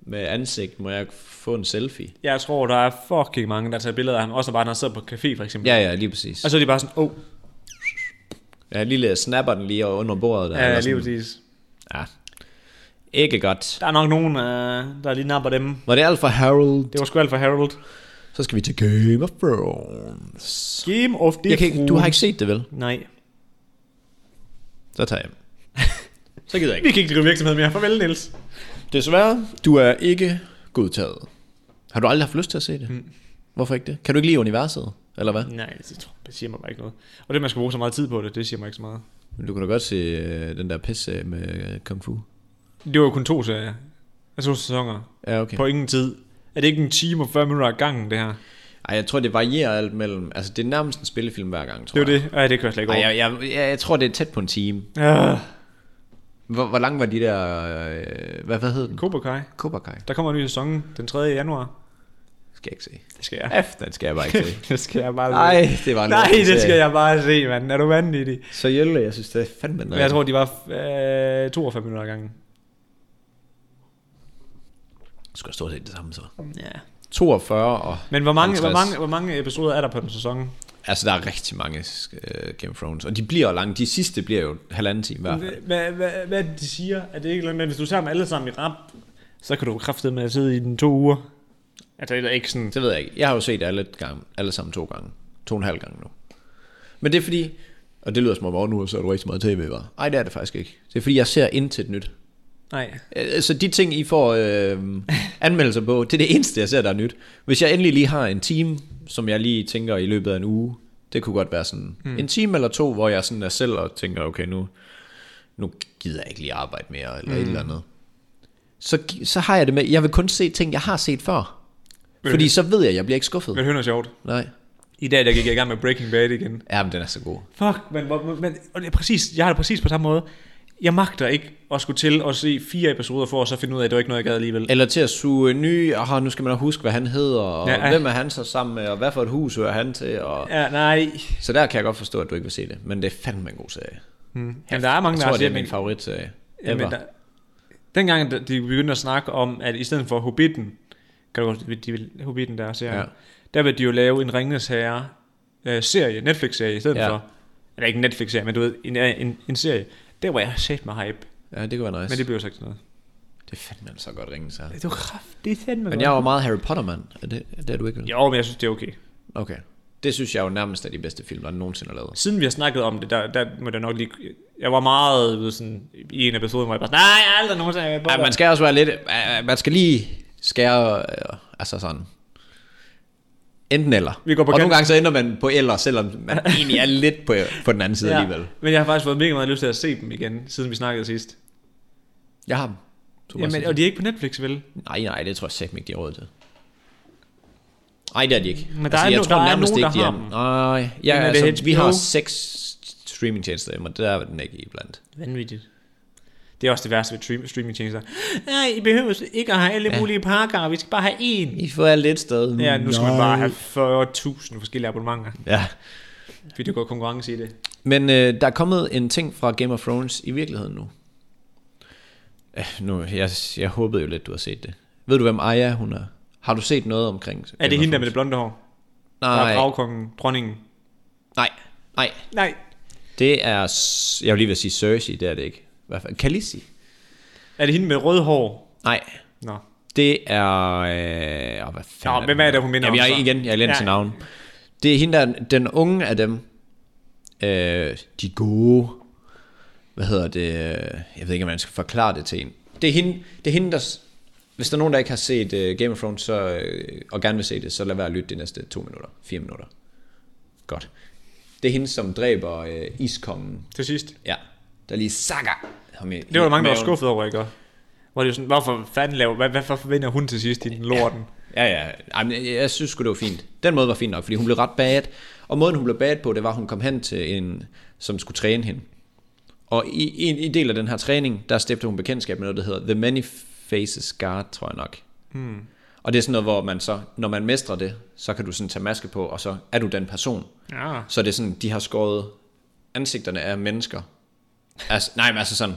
Speaker 2: med ansigt, må jeg få en selfie?
Speaker 1: Jeg tror, der er fucking mange, der tager billeder af ham. Også bare, når han sidder på café, for eksempel.
Speaker 2: Ja, ja, lige præcis.
Speaker 1: Og så er de bare sådan, åh, oh,
Speaker 2: Jeg lige snapper den lige under bordet. Der,
Speaker 1: ja,
Speaker 2: eller
Speaker 1: lige
Speaker 2: sådan.
Speaker 1: præcis.
Speaker 2: Ja. Ikke godt.
Speaker 1: Der er nok nogen, øh, der lige napper dem.
Speaker 2: Var det alt for Harold?
Speaker 1: Det var sgu alt for Harold.
Speaker 2: Så skal vi til Game of Thrones.
Speaker 1: Game of the
Speaker 2: Jeg kan ikke, du har ikke set det, vel?
Speaker 1: Nej.
Speaker 2: Så tager jeg hjem. Så gider jeg
Speaker 1: Vi
Speaker 2: ikke.
Speaker 1: kan ikke drive virksomhed mere. Farvel, Niels.
Speaker 2: Desværre, du er ikke godtaget. Har du aldrig haft lyst til at se det? Mm. Hvorfor ikke det? Kan du ikke lide universet? Eller hvad?
Speaker 1: Nej, det, tror, det siger mig bare ikke noget. Og det, man skal bruge så meget tid på det, det siger mig ikke så meget.
Speaker 2: Men Du kan da godt se øh, den der pisse med øh, Kung Fu.
Speaker 1: Det var jo kun to serier. Altså to sæsoner.
Speaker 2: Ja, okay.
Speaker 1: Okay. På ingen tid. Er det ikke en time og 40 minutter af gangen, det her?
Speaker 2: Ej, jeg tror, det varierer alt mellem... Altså, det er nærmest en spillefilm hver gang, tror
Speaker 1: Det er jo
Speaker 2: jeg.
Speaker 1: det. Ej, det kører slet ikke
Speaker 2: Ej,
Speaker 1: over.
Speaker 2: jeg, jeg, jeg, jeg tror, det er tæt på en time.
Speaker 1: Ah,
Speaker 2: Hvor, hvor lang var de der... Øh, hvad, hvad hed den?
Speaker 1: Cobra Kai.
Speaker 2: Cobra Kai.
Speaker 1: Der kommer en ny sæson den 3. januar.
Speaker 2: Skal jeg ikke se.
Speaker 1: Det skal jeg.
Speaker 2: F, den skal jeg bare ikke se.
Speaker 1: det skal jeg bare
Speaker 2: Nej, det var en
Speaker 1: Nej,
Speaker 2: lorteserie.
Speaker 1: det skal jeg bare se, mand. Er du vanvittig?
Speaker 2: Så Jelle, jeg synes, det er fandme
Speaker 1: Men jeg tror, de var øh, 42 minutter ad gangen.
Speaker 2: det skal stort set det samme så.
Speaker 1: Ja.
Speaker 2: 42 og...
Speaker 1: Men hvor mange, hvor,
Speaker 2: 50.
Speaker 1: mange, hvor mange episoder er der på den sæson?
Speaker 2: Altså, der er rigtig mange uh, Game of Thrones, og de bliver jo lange. De sidste bliver jo halvanden time hver.
Speaker 1: Hvad, hvad, hvad, hvad er det, de siger? Er det ikke noget med, hvis du tager dem alle sammen i rap, så kan du kraftet med at sidde i den to uger? Altså, det er ikke sådan...
Speaker 2: Det ved jeg ikke. Jeg har jo set alle, gang, alle sammen to gange. To og en halv gang nu. Men det er fordi... Og det lyder som om, "Åh, nu så er du rigtig meget tv, var. Ej, det er det faktisk ikke. Det er fordi, jeg ser intet nyt.
Speaker 1: Nej.
Speaker 2: Øh, Så de ting, I får øh, anmeldelser på, det er det eneste, jeg ser, der er nyt. Hvis jeg endelig lige har en time, som jeg lige tænker i løbet af en uge, det kunne godt være sådan mm. en time eller to, hvor jeg sådan er selv og tænker, okay, nu, nu gider jeg ikke lige arbejde mere, eller mm. et eller andet. Så, gi- så har jeg det med, jeg vil kun se ting, jeg har set før. Fordi så ved jeg, at jeg bliver ikke skuffet.
Speaker 1: Men hun er sjovt.
Speaker 2: Nej.
Speaker 1: I dag, der gik jeg i gang med Breaking Bad igen.
Speaker 2: Ja, men den er så god.
Speaker 1: Fuck, men, hvor- men og det er præcis, jeg har det præcis på samme måde. Jeg magter ikke at skulle til at se fire episoder for, og så finde ud af, at det var ikke noget, jeg gad alligevel.
Speaker 2: Eller til at suge ny, og nu skal man huske, hvad han hedder, og
Speaker 1: Ja,
Speaker 2: ja,
Speaker 1: ja.
Speaker 2: hvem er han så sammen med, og hvad for et hus hører han til, og...
Speaker 1: Ja, nej.
Speaker 2: Så der kan jeg godt forstå, at du ikke vil se det. Men det er fandme en god serie.
Speaker 1: Hmm. Men der er mange,
Speaker 2: jeg
Speaker 1: der har
Speaker 2: tror, det
Speaker 1: set,
Speaker 2: er min
Speaker 1: men,
Speaker 2: favoritserie.
Speaker 1: ja, men
Speaker 2: ever.
Speaker 1: der, dengang da de begyndte at snakke om, at i stedet for Hobbiten, kan du godt de, vil- Hobbiten der ser, ja.
Speaker 2: Ja.
Speaker 1: der vil de jo lave en Ringnes Herre øh, serie, Netflix-serie i stedet ja.
Speaker 2: Ja.
Speaker 1: for. Eller ikke en Netflix-serie, men du ved, en, øh, en, en serie. Der var jeg sat mig hype,
Speaker 2: Ja, det kunne
Speaker 1: men
Speaker 2: være nice.
Speaker 1: det
Speaker 2: Men det,
Speaker 1: blev så ikke til noget.
Speaker 2: det er fandme altså godt ringe sig.
Speaker 1: Det var kraft, det er fandme
Speaker 2: Men
Speaker 1: godt.
Speaker 2: jeg var meget Harry Potter-mand. Er det, det er du ikke? vel?
Speaker 1: Jo, men jeg synes, det er okay.
Speaker 2: Okay. Det synes jeg jo nærmest er de bedste film, der nogensinde er lavet.
Speaker 1: siden vi har snakket om det, der, der må der nok lige... Jeg var meget ved sådan, i en episode, hvor jeg bare sådan, nej, jeg har aldrig nogensinde været på
Speaker 2: Ej, man skal også være lidt... øh, Man skal lige skære... øh, Altså sådan... Enten eller.
Speaker 1: Vi går på
Speaker 2: og
Speaker 1: kant.
Speaker 2: nogle gange så ender man på eller, selvom man egentlig er lidt på, på den anden side ja. alligevel.
Speaker 1: Men jeg har faktisk fået mega meget lyst til at se dem igen, siden vi snakkede sidst.
Speaker 2: Jeg har dem. Thomas.
Speaker 1: Jamen, og de er ikke på Netflix, vel?
Speaker 2: Nej, nej, det tror jeg sæt ikke, de har råd til. Nej, det er de ikke. Altså,
Speaker 1: Men der er no- der er nogen, der har dem.
Speaker 2: Nej, ja,
Speaker 1: Men er det
Speaker 2: altså, vi
Speaker 1: HBO?
Speaker 2: har seks streamingtjenester, men der er den ikke iblandt.
Speaker 1: Vanvittigt. Det er også det værste ved stream- streamingtjenester. Nej, I behøver ikke at have alle mulige pakker, vi skal bare have én.
Speaker 2: I får alt et sted.
Speaker 1: Ja, nu skal man bare have 40.000 forskellige abonnementer,
Speaker 2: Ja.
Speaker 1: fordi det går konkurrence i det.
Speaker 2: Men øh, der er kommet en ting fra Game of Thrones i virkeligheden nu. Øh, nu, jeg, jeg håbede jo lidt, du har set det. Ved du, hvem Aya hun er? Har du set noget omkring?
Speaker 1: Er det hende der med det blonde hår? Der er
Speaker 2: Nej,
Speaker 1: dragkongen, dronningen.
Speaker 2: nej, nej.
Speaker 1: Nej.
Speaker 2: Det er, s- jeg vil lige ved at sige Cersei, det er det ikke. Hvad fanden? Khaleesi?
Speaker 1: Er det hende med rød hår?
Speaker 2: Nej,
Speaker 1: Nå.
Speaker 2: Det er... Øh, åh, hvad fanden
Speaker 1: Nå, hvem er det, hun minder
Speaker 2: Jamen,
Speaker 1: om
Speaker 2: jeg,
Speaker 1: så?
Speaker 2: igen, jeg glemte
Speaker 1: Ja.
Speaker 2: ja. til navn. Det er hende, der, er den unge af dem. Øh, de gode... Hvad hedder det? Jeg ved ikke, om man skal forklare det til en. Det er hende, det er hende der... s- Hvis der er nogen, der ikke har set uh, Game of Thrones, så, uh, og gerne vil se det, så lad være at lytte de næste to minutter, fire minutter. Godt. Det er hende, som dræber uh, iskongen.
Speaker 1: Til sidst.
Speaker 2: Ja, der lige sakker ham i
Speaker 1: Det var der mange, der var skuffet over, ikke? Hvor det er sådan, hvorfor fanden laver, hvad, hvad, hvorfor vinder hun til sidst i den lorten?
Speaker 2: Ja, ja. Ej, men jeg synes sgu, det var fint. Den måde var fint nok, fordi hun blev ret bad. Og måden, hun blev bad på, det var, at hun kom hen til en, som skulle træne hende. Og i, i, en- i en del af den her træning, der stifter hun bekendtskab med noget, der hedder The Many Faces Guard, tror jeg nok. Hmm. Og det er sådan noget, hvor man så, når man mestrer det, så kan du sådan tage maske på, og så er du den person.
Speaker 1: Ja.
Speaker 2: Så det er sådan, de har skåret ansigterne af mennesker. Altså, nej, men altså sådan,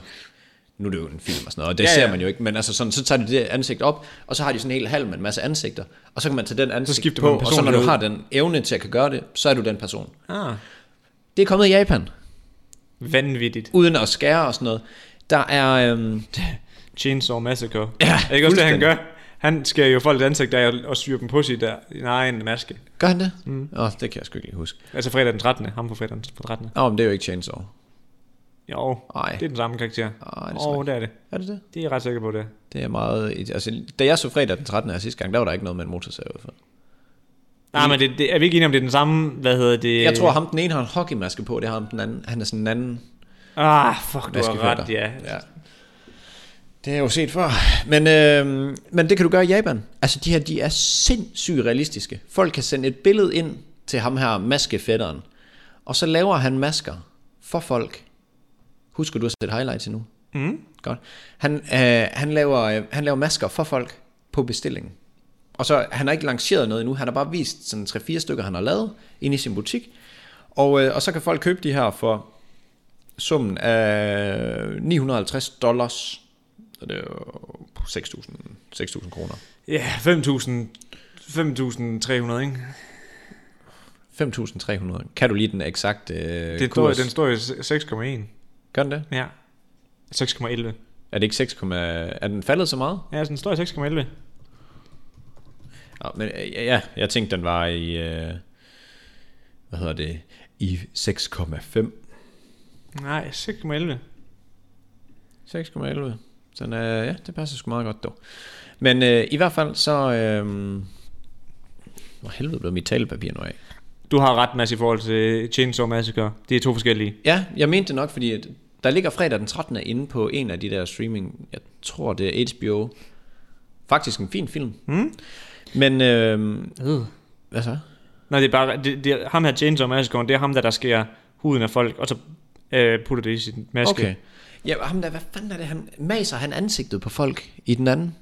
Speaker 2: nu er det jo en film og sådan noget, og det
Speaker 1: Ja,
Speaker 2: ja,
Speaker 1: ja.
Speaker 2: ser man jo ikke, men altså sådan, så tager de det ansigt op, og så har de sådan en hel halv med en masse ansigter, og så kan man tage den ansigt
Speaker 1: skifter
Speaker 2: på,
Speaker 1: man
Speaker 2: og så når du
Speaker 1: personlighed.
Speaker 2: har den evne til at kan gøre det, så er du den person.
Speaker 1: Ah.
Speaker 2: Det er kommet i Japan,
Speaker 1: Vanvittigt.
Speaker 2: uden at skære og sådan noget. Der er, øhm,
Speaker 1: Chainsaw Massacre.
Speaker 2: Ja,
Speaker 1: er det ikke også det, han
Speaker 2: fuldstændig.
Speaker 1: gør? Han skærer jo folks ansigt af og- og syr dem på sit der, sin egen maske.
Speaker 2: gør han det? Åh, mm. oh, det kan jeg sgu ikke lige huske.
Speaker 1: Altså fredag den 13. Ham på fredag den 13.
Speaker 2: Åh, oh, men det er jo ikke Chainsaw.
Speaker 1: Jo,
Speaker 2: Ej.
Speaker 1: det er den samme karakter.
Speaker 2: Ej, det er
Speaker 1: Åh, oh, det er det.
Speaker 2: Er det det?
Speaker 1: Det er jeg ret sikker på, det er.
Speaker 2: Det er meget, altså, da jeg så fredag den 13. her sidste gang, der var der ikke noget med en motorsav i hvert fald.
Speaker 1: Nej, men det, det, er vi ikke enige om, det er den samme, hvad hedder det?
Speaker 2: Jeg tror, ham den ene har en hockeymaske på, det har ham den anden. Han er sådan en anden
Speaker 1: Ah, fuck, du har
Speaker 2: maskefører.
Speaker 1: ret, ja.
Speaker 2: ja. Det har jeg jo set før. Men, øh, men det kan du gøre i Japan. Altså, de her, de er sindssygt realistiske. Folk kan sende et billede ind til ham her, maskefætteren. Og så laver han masker for folk. Husker du at sætte highlights endnu?
Speaker 1: Mm.
Speaker 2: Godt. Han, øh, han, laver, øh, han laver masker for folk på bestilling. Og så, han har ikke lanceret noget endnu, han har bare vist sådan 3-4 stykker, han har lavet inde i sin butik. Og, øh, og så kan folk købe de her for summen af 950 dollars. Så det er jo 6.000 6.000 kroner.
Speaker 1: Ja, 5.000 5.300, ikke?
Speaker 2: 5.300. Kan du lige den eksakte øh,
Speaker 1: Den står,
Speaker 2: kurs?
Speaker 1: den
Speaker 2: Den...
Speaker 1: står i 6,1.
Speaker 2: Gør den det?
Speaker 1: Ja. 6,11.
Speaker 2: Er det ikke 6, er den faldet så meget?
Speaker 1: Ja, altså, den står i 6,11.
Speaker 2: Ja, men øh, ja, ja, jeg tænkte, den var i, øh, hvad hedder det, i 6,5.
Speaker 1: Nej, 6,11.
Speaker 2: 6,11. Sådan, øh, ja, det passer sgu meget godt dog. Men øh, i hvert fald så... Øh, hvor helvede blev mit talepapir nu af?
Speaker 1: Du har ret, Mads, i forhold til Chainsaw Massacre. Det er to forskellige.
Speaker 2: Ja, jeg mente det nok, fordi at der ligger fredag den 13. inde på en af de der streaming, jeg tror det er HBO. Faktisk en fin film.
Speaker 1: Mm.
Speaker 2: Men, øh,
Speaker 1: Øh.
Speaker 2: hvad så?
Speaker 1: Nej, det er bare... Det, det er, ham her, Chainsaw Massacre, det er ham, der, der skærer huden af folk, og så øh, putter det i sin maske.
Speaker 2: Okay. Ja, og ham der, hvad fanden er det, han maser han ansigtet på folk i den anden?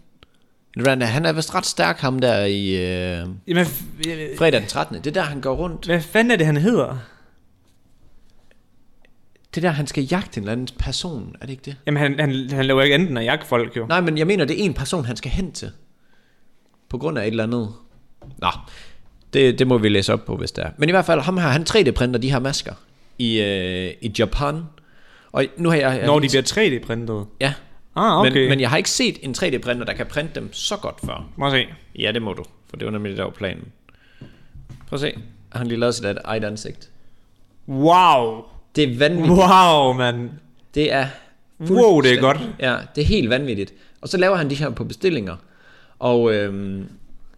Speaker 2: Eller hvordan er- Han er vist ret stærk, ham der i øh,
Speaker 1: Jamen, f- øh,
Speaker 2: fredag den 13. Det er der, han går rundt.
Speaker 1: hvad fanden er det, han hedder?
Speaker 2: Det er der, han skal jagte en eller anden person, er det ikke det?
Speaker 1: Jamen, han, han, han laver ikke andet end at jakke folk, jo.
Speaker 2: Nej, men jeg mener, det er en person, han skal hen til. På grund af et eller andet. Nå, det, det må vi læse op på, hvis det er. Men i hvert fald, ham her, han 3D-printer de her masker i, øh, i Japan. Og nu har jeg...
Speaker 1: Når de bliver 3D-printet.
Speaker 2: Ja,
Speaker 1: Ah,
Speaker 2: okay.
Speaker 1: okay.
Speaker 2: men, men jeg har ikke set en 3D-printer, der kan printe dem så godt før.
Speaker 1: Må se.
Speaker 2: Ja, det må du, for det var nemlig det, der var planen. Prøv at se. Har Han lige lavet sit eget ansigt.
Speaker 1: Wow.
Speaker 2: Det er vanvittigt.
Speaker 1: Wow, mand.
Speaker 2: Det er
Speaker 1: Wow, det er godt.
Speaker 2: Ja, det er helt vanvittigt. Og så laver han de her på bestillinger. Og øhm,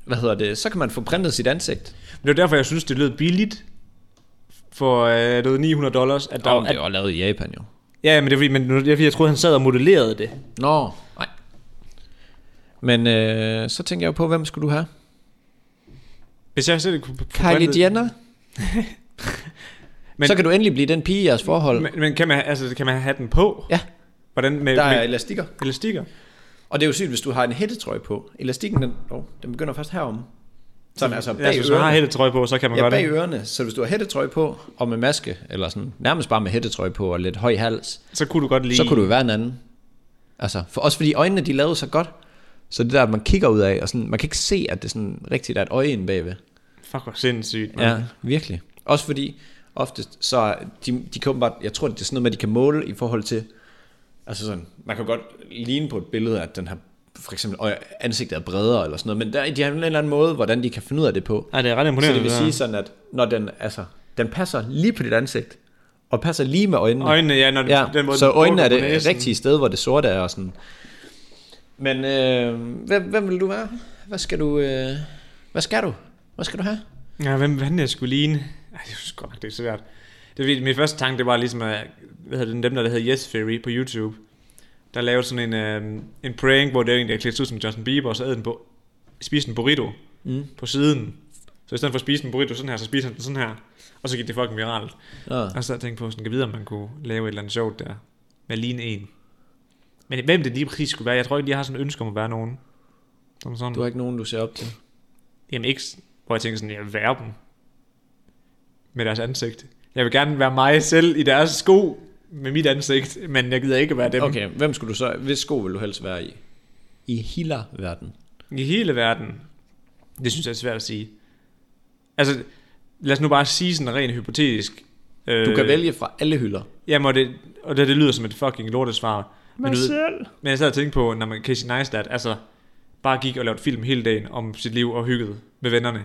Speaker 2: hvad hedder det? Så kan man få printet sit ansigt.
Speaker 1: Men det var derfor, jeg synes, det lød billigt for øh, du ved, 900 dollars. At der,
Speaker 2: Og
Speaker 1: oh,
Speaker 2: det er
Speaker 1: at,
Speaker 2: jo lavet i Japan jo.
Speaker 1: ja, men det er fordi, men, nu- det er fordi, jeg troede, han sad og modellerede det.
Speaker 2: Nå, nej. Men øh, så tænker jeg jo på, hvem skulle du have?
Speaker 1: Hvis jeg selv kunne... kunne
Speaker 2: Kylie
Speaker 1: printe-
Speaker 2: Jenner?
Speaker 1: Men-
Speaker 2: Men, så kan du endelig blive den pige i jeres forhold. Men,
Speaker 1: Men, men kan, man, altså, kan man have den på?
Speaker 2: ja,
Speaker 1: Hvordan med,
Speaker 2: der er
Speaker 1: med
Speaker 2: elastikker.
Speaker 1: elastikker?
Speaker 2: Og det er jo sygt, hvis du har en hættetrøje på. Elastikken, den, oh, den begynder først heromme. Sådan altså bag
Speaker 1: Ja, altså, hvis man har
Speaker 2: ørerne.
Speaker 1: hele trøje på, så kan man
Speaker 2: Ja,
Speaker 1: godt
Speaker 2: bag
Speaker 1: det.
Speaker 2: ørerne. Så hvis du har hættetrøje på, og med maske, eller sådan, nærmest bare med hættetrøje på og lidt høj hals,
Speaker 1: Så kunne du godt lide...
Speaker 2: så kunne du jo være en anden. Altså, for også fordi øjnene, de lavede så godt, så det der, at man kigger ud af, og sådan, man kan ikke se, at det sådan rigtigt er et øje inde bagved.
Speaker 1: Fuck, hvor sindssygt. mand.
Speaker 2: Ja, virkelig. Også fordi, oftest, så er de, de kan bare, jeg tror, det er sådan noget med, de kan måle i forhold til, altså sådan, man kan jo godt ligne på et billede, at den her, for eksempel øje- ansigtet er bredere eller sådan noget, men der, de har en eller anden måde, hvordan de kan finde ud af det på.
Speaker 1: Ej, det er ret
Speaker 2: Så
Speaker 1: imponerende.
Speaker 2: det vil
Speaker 1: der.
Speaker 2: sige sådan, at når den, altså, den passer lige på dit ansigt, og passer lige med øjnene.
Speaker 1: Øjnene, ja, når
Speaker 2: ja,
Speaker 1: den måde,
Speaker 2: så
Speaker 1: den
Speaker 2: øjnene er
Speaker 1: bukker
Speaker 2: det
Speaker 1: på næsen.
Speaker 2: rigtige sted, hvor det sorte er og sådan. Men øh, hvem, hvem vil du være? Hvad skal du, øh, hvad skal du? Hvad skal du have?
Speaker 1: Ja, hvem fanden jeg skulle ligne? Ej, det synes godt nok, det er svært. Det er fordi, min første tanke, det var ligesom, at, hvad hedder den, dem der, der hedder Yes Theory på YouTube, der lavede sådan en, øh, en prank, hvor det egentlig er klædt ud som Justin Bieber, og så æd den på, spiste en burrito
Speaker 2: Mm.
Speaker 1: på siden. Så i stedet for at spise en burrito sådan her, så spiser han den sådan her. Og så gik det fucking viralt.
Speaker 2: Ja.
Speaker 1: Og så tænkte jeg på, sådan, kan vide, om man kunne lave et eller andet sjovt der. Med lige en. Men hvem det lige præcis skulle være, jeg tror ikke, jeg har sådan et ønske om at være nogen. Som sådan.
Speaker 2: Du har ikke nogen, du ser op til.
Speaker 1: Jamen ikke, s- hvor jeg tænker sådan, jeg vil være dem. Med deres ansigt. Jeg vil gerne være mig selv i deres sko med mit ansigt, men jeg gider ikke være dem.
Speaker 2: Okay, hvem skulle du så, hvis sko vil du helst være i? I hiller verden
Speaker 1: I hele verden. Det synes jeg er svært at sige. Altså, lad os nu bare sige sådan rent hypotetisk. øh,
Speaker 2: Du kan vælge fra alle hylder.
Speaker 1: Jamen, og det, og det, det lyder som et fucking lortesvar. Men, du ved,
Speaker 2: selv.
Speaker 1: men jeg sad og tænkte på, når man Casey Neistat, altså, bare gik og lavede film hele dagen om sit liv og hyggede med vennerne.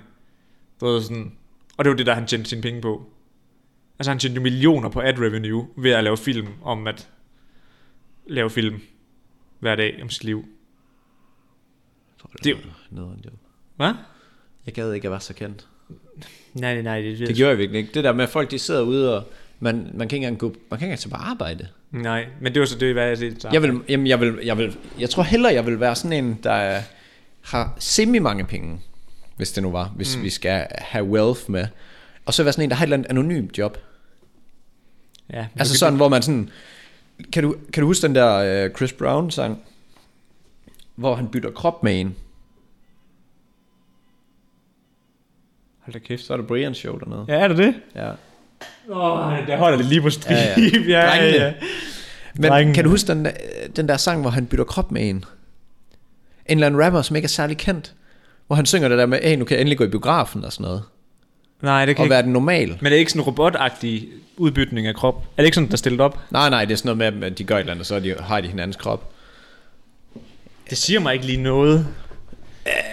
Speaker 1: Du ved, sådan, og det var det, der han tjente sine penge på. Altså, han tjente jo millioner på ad revenue ved at lave film om at lave film hver dag om sit liv.
Speaker 2: Jeg tror,
Speaker 1: Det-
Speaker 2: det var noget, noget,
Speaker 1: Hvad?
Speaker 2: Jeg gad ikke at være så kendt.
Speaker 1: Nej, nej, nej. Det,
Speaker 2: Det gjorde jeg virkelig ikke. Det der med, at folk de sidder ude, og man, man kan ikke engang gå, man kan ikke engang tage på arbejde.
Speaker 1: Nej, men det var så det, hvad jeg set.
Speaker 2: Jeg, vil, jamen, jeg, vil, jeg, vil, jeg tror hellere, jeg vil være sådan en, der er- har semi mange penge, hvis det nu var, hvis mm. vi skal have wealth med. Og så være sådan en, der har et eller andet anonymt job.
Speaker 1: Ja, men
Speaker 2: Altså
Speaker 1: du-
Speaker 2: sådan, hvor man sådan... Kan du, kan du huske den der øh, Chris Brown-sang? Hvor han bytter krop med en.
Speaker 1: Hold da kæft.
Speaker 2: Så er det Brian show dernede.
Speaker 1: Ja, er det det?
Speaker 2: Ja.
Speaker 1: Åh, oh, der holder det lige på strip.
Speaker 2: Ja, ja.
Speaker 1: ja, ja,
Speaker 2: Drengene.
Speaker 1: ja.
Speaker 2: Men
Speaker 1: Drengene.
Speaker 2: kan du huske den, øh, den der sang, hvor han bytter krop med en? En eller anden rapper, som ikke er særlig kendt. Hvor han synger det der med, hey, nu kan jeg endelig gå i biografen og sådan noget.
Speaker 1: Nej, det kan
Speaker 2: Og
Speaker 1: ikke.
Speaker 2: være den normal.
Speaker 1: Men det er ikke sådan en robotagtig udbytning af krop. Er det ikke sådan, der er stillet op?
Speaker 2: Nej, nej, det er sådan noget med, at de gør et eller andet, og så er de, har de hinandens krop.
Speaker 1: Det siger mig ikke lige noget.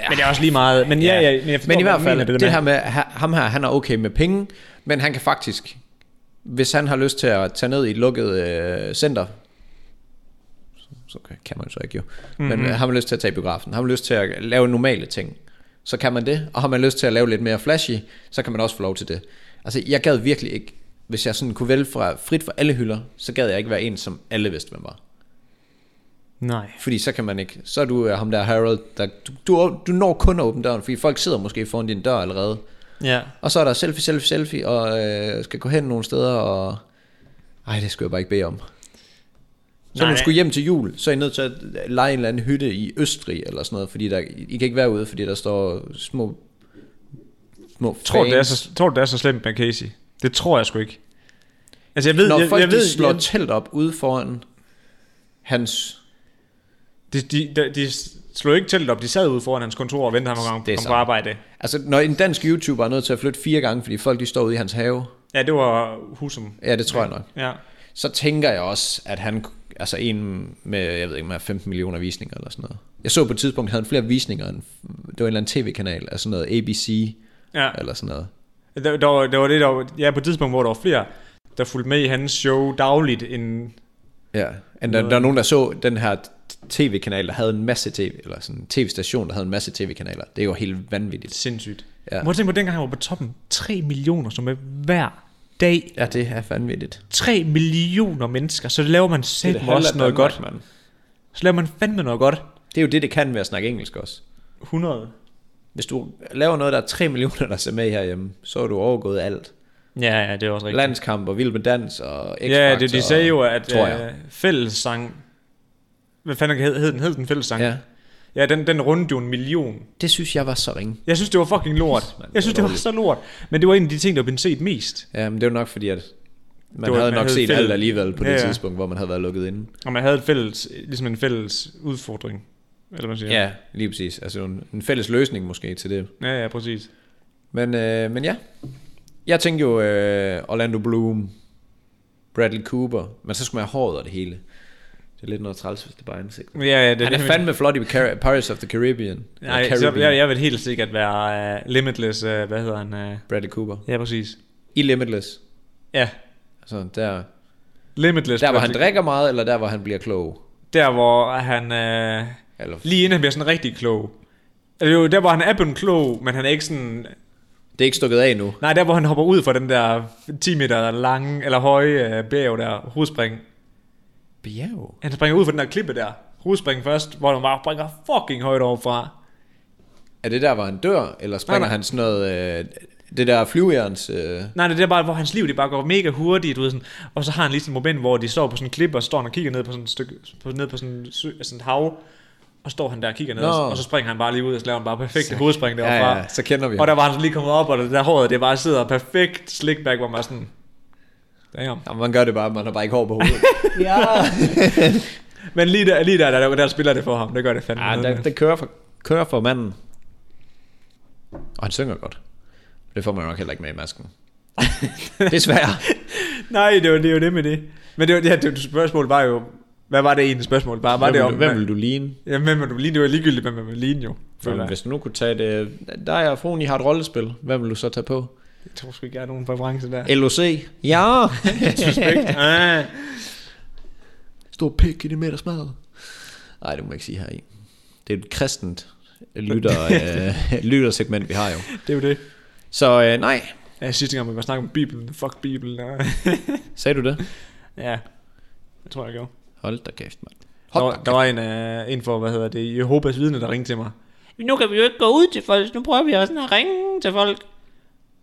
Speaker 1: Men det er også lige meget. Men ja, ja. Men, jeg forstår,
Speaker 2: men i
Speaker 1: hvad
Speaker 2: hvert
Speaker 1: du
Speaker 2: fald,
Speaker 1: mener,
Speaker 2: det,
Speaker 1: det,
Speaker 2: det her
Speaker 1: her...
Speaker 2: med, ha- ham her, han er okay med penge, men han kan faktisk, hvis han har lyst til at tage ned i et lukket øh, center, så, så kan- kan man jo så ikke jo, mm-hmm.
Speaker 1: Mhm.
Speaker 2: men øh, har man lyst til at tage i biografen, har man lyst til at lave normale ting, så kan man det, og har man lyst til at lave lidt mere flashy, så kan man også få lov til det. Altså, jeg gad virkelig ikke, hvis jeg sådan kunne vælge fra, frit fra alle hylder, så gad jeg ikke være en, som alle vidste, hvem var.
Speaker 1: Nej.
Speaker 2: Fordi så kan man ikke. Så er du øh, ham der Harold, der, du, du, du når kun at åbne døren, fordi folk sidder måske foran din dør allerede.
Speaker 1: Ja.
Speaker 2: Og så er der selfie, selfie, selfie, og øh, skal gå hen nogle steder, og... Ej, det skal jeg bare ikke bede om. Så når
Speaker 1: Nej.
Speaker 2: du skulle hjem til jul, så er I nødt til at lege en eller anden hytte i Østrig, eller sådan noget, fordi der, I kan ikke være ude, fordi der står små... små
Speaker 1: Tror du, det er
Speaker 2: fans.
Speaker 1: så, tror du, det er så slemt med Casey? Det tror jeg sgu ikke. Altså, jeg ved,
Speaker 2: Når
Speaker 1: jeg,
Speaker 2: folk
Speaker 1: jeg
Speaker 2: de
Speaker 1: ved,
Speaker 2: slår
Speaker 1: jeg,
Speaker 2: telt op ude foran hans...
Speaker 1: de, de, de, de slog ikke teltet op. De sad ude foran hans kontor og ventede ham at
Speaker 2: Det
Speaker 1: komme- komme
Speaker 2: er
Speaker 1: på
Speaker 2: sådan.
Speaker 1: arbejde.
Speaker 2: Altså, når en dansk YouTuber er nødt til at flytte fire gange, fordi folk de står ude i hans have,
Speaker 1: Ja, det var Husum.
Speaker 2: ja, det tror jeg nok.
Speaker 1: Ja.
Speaker 2: så tænker jeg også, at han, altså en med, jeg ved ikke, med 15 millioner visninger eller sådan noget. Jeg så på et tidspunkt, at han havde flere visninger, end, det var en eller anden tv-kanal, altså sådan noget ABC
Speaker 1: ja.
Speaker 2: eller sådan noget.
Speaker 1: Der, der, var, der var det, der var, ja, på et tidspunkt, hvor der var flere, der fulgte med i hans show dagligt, end
Speaker 2: Ja, And der, der er nogen, der så den her tv-kanal, der havde en masse tv, eller sådan en tv-station, der havde en masse tv-kanaler. Det er jo helt vanvittigt.
Speaker 1: sindssygt.
Speaker 2: Ja.
Speaker 1: Ja. Må jeg tænke på, dengang han var på toppen, 3 millioner, som er hver dag.
Speaker 2: Ja, det er vanvittigt.
Speaker 1: 3 millioner mennesker, så laver man selv også noget godt.
Speaker 2: man.
Speaker 1: Så laver man fandme noget godt.
Speaker 2: Det er jo det, det kan ved at snakke engelsk også.
Speaker 1: 100.
Speaker 2: Hvis du laver noget, der er 3 millioner, der ser med herhjemme, så er du overgået alt.
Speaker 1: Ja, ja, det er også rigtigt.
Speaker 2: Landskamp og vild med dans og x
Speaker 1: ja, det, de sagde jo, at
Speaker 2: tror jeg.
Speaker 1: øh, fællessang... Hvad fanden hed, hed den? Hed den fællessang?
Speaker 2: Ja.
Speaker 1: ja den, den rundte jo en million.
Speaker 2: Det synes jeg var så ringe.
Speaker 1: Jeg synes, det var fucking lort.
Speaker 2: Man, det var
Speaker 1: Jeg synes, det var
Speaker 2: dårligt.
Speaker 1: så lort. Men det var en af de ting, der blev set mest.
Speaker 2: Ja, men det var nok fordi, at man
Speaker 1: Det var-
Speaker 2: havde
Speaker 1: man
Speaker 2: nok
Speaker 1: havde
Speaker 2: set
Speaker 1: fælles-
Speaker 2: alt alligevel på det
Speaker 1: Ja, ja.
Speaker 2: tidspunkt, hvor man havde været lukket inde.
Speaker 1: Og man havde et fælles, ligesom en fælles udfordring. Eller hvad man siger.
Speaker 2: Ja, lige præcis. Altså en, en fælles løsning måske til det.
Speaker 1: Ja, ja, præcis.
Speaker 2: Men, øh, men ja, jeg tænkte jo øh, Orlando Bloom, Bradley Cooper, men så skulle man have håret og det hele. Det er lidt noget træls, hvis det bare er ansigt.
Speaker 1: Ja, ja, det,
Speaker 2: Han er
Speaker 1: det-
Speaker 2: fandme flot i Car- Pirates of the Caribbean.
Speaker 1: Nej,
Speaker 2: Eller
Speaker 1: så,
Speaker 2: Caribbean.
Speaker 1: jeg, jeg vil helt sikkert være uh, limitless, uh, hvad hedder han? Uh,
Speaker 2: Bradley Cooper.
Speaker 1: ja, præcis.
Speaker 2: I Limitless.
Speaker 1: Ja,
Speaker 2: Altså der,
Speaker 1: limitless.
Speaker 2: der hvor han
Speaker 1: Bradley-
Speaker 2: drikker meget, eller der hvor han bliver klog.
Speaker 1: Der, hvor han... Uh,
Speaker 2: Eller,
Speaker 1: lige inden han bliver sådan rigtig klog. Eller jo, der, hvor han er blevet klog, men han er ikke sådan...
Speaker 2: det er ikke stukket af nu.
Speaker 1: Nej, der, hvor han hopper ud fra den der 10 meter lange eller høje uh, bjerg der, hovedspring.
Speaker 2: Bjerg.
Speaker 1: Han springer ud fra den der klippe der. Hovedspring først, hvor han bare springer fucking højt overfra.
Speaker 2: Er det der, hvor han dør, eller springer
Speaker 1: Nej, nej.
Speaker 2: han sådan noget... Øh, det der flyvjerns... Øh,
Speaker 1: Nej, det er der bare, hvor hans liv det bare går mega hurtigt, du ved, sådan, og så har han lige sådan et moment, hvor de står på sådan en klippe, og står han og kigger ned på sådan et stykke, på, ned på sådan, en sø, sådan et hav, og står han der og kigger ned,
Speaker 2: Nå.
Speaker 1: og, så- og så springer han bare lige ud, og så laver han bare perfekte hovedspring
Speaker 2: ja,
Speaker 1: deroppe.
Speaker 2: ja, så kender vi
Speaker 1: Og
Speaker 2: ham.
Speaker 1: der var han så lige kommet op, og det der håret, det bare sidder perfekt slickback, hvor man er sådan, damn.
Speaker 2: Jamen, man gør det bare, man har bare ikke hår på hovedet. ja,
Speaker 1: Men lige der, lige der, der, der, der spiller det for ham, det gør det fandme.
Speaker 2: ja
Speaker 1: noget
Speaker 2: der,
Speaker 1: med.
Speaker 2: det kører for, kører for manden. Og han synger godt. Det får man nok heller ikke med i masken. Desværre.
Speaker 1: Nej, det var, det var det med det. Men det var, ja, det, spørgsmålet var jo, hvad var det egentlig spørgsmål? Bare, var
Speaker 2: hvem,
Speaker 1: det
Speaker 2: vil
Speaker 1: om,
Speaker 2: du, hvem vil du ligne?
Speaker 1: Ja, hvem vil du ligne? Det var ligegyldigt, hvem man vil ligne jo. føler
Speaker 2: Jamen,
Speaker 1: jeg.
Speaker 2: hvis du nu kunne tage det... Der er fruen, I har et rollespil. Hvem vil du så tage på?
Speaker 1: Jeg tror sgu ikke, jeg har nogen præference der.
Speaker 2: LOC. Ja.
Speaker 1: Respekt. ah.
Speaker 2: Stor pik i det med, der smadret. Nej, det må jeg ikke sige her i. Det er et kristent lytter, øh, lyttersegment, vi har jo.
Speaker 1: Det er jo det.
Speaker 2: Så øh, nej,
Speaker 1: Ja, sidste gang, man var snakke om Bibelen. Fuck Bibelen. og-
Speaker 2: sagde du det?
Speaker 1: ja, det tror jeg, jeg gjorde.
Speaker 2: Hold da kæft, mand.
Speaker 1: Der
Speaker 2: Hold
Speaker 1: var, der var en, uh, en for, hvad hedder det, Jehovas vidne, der ringte til mig. Nu kan vi jo ikke gå ud til folk, nu prøver vi også sådan at ringe til folk.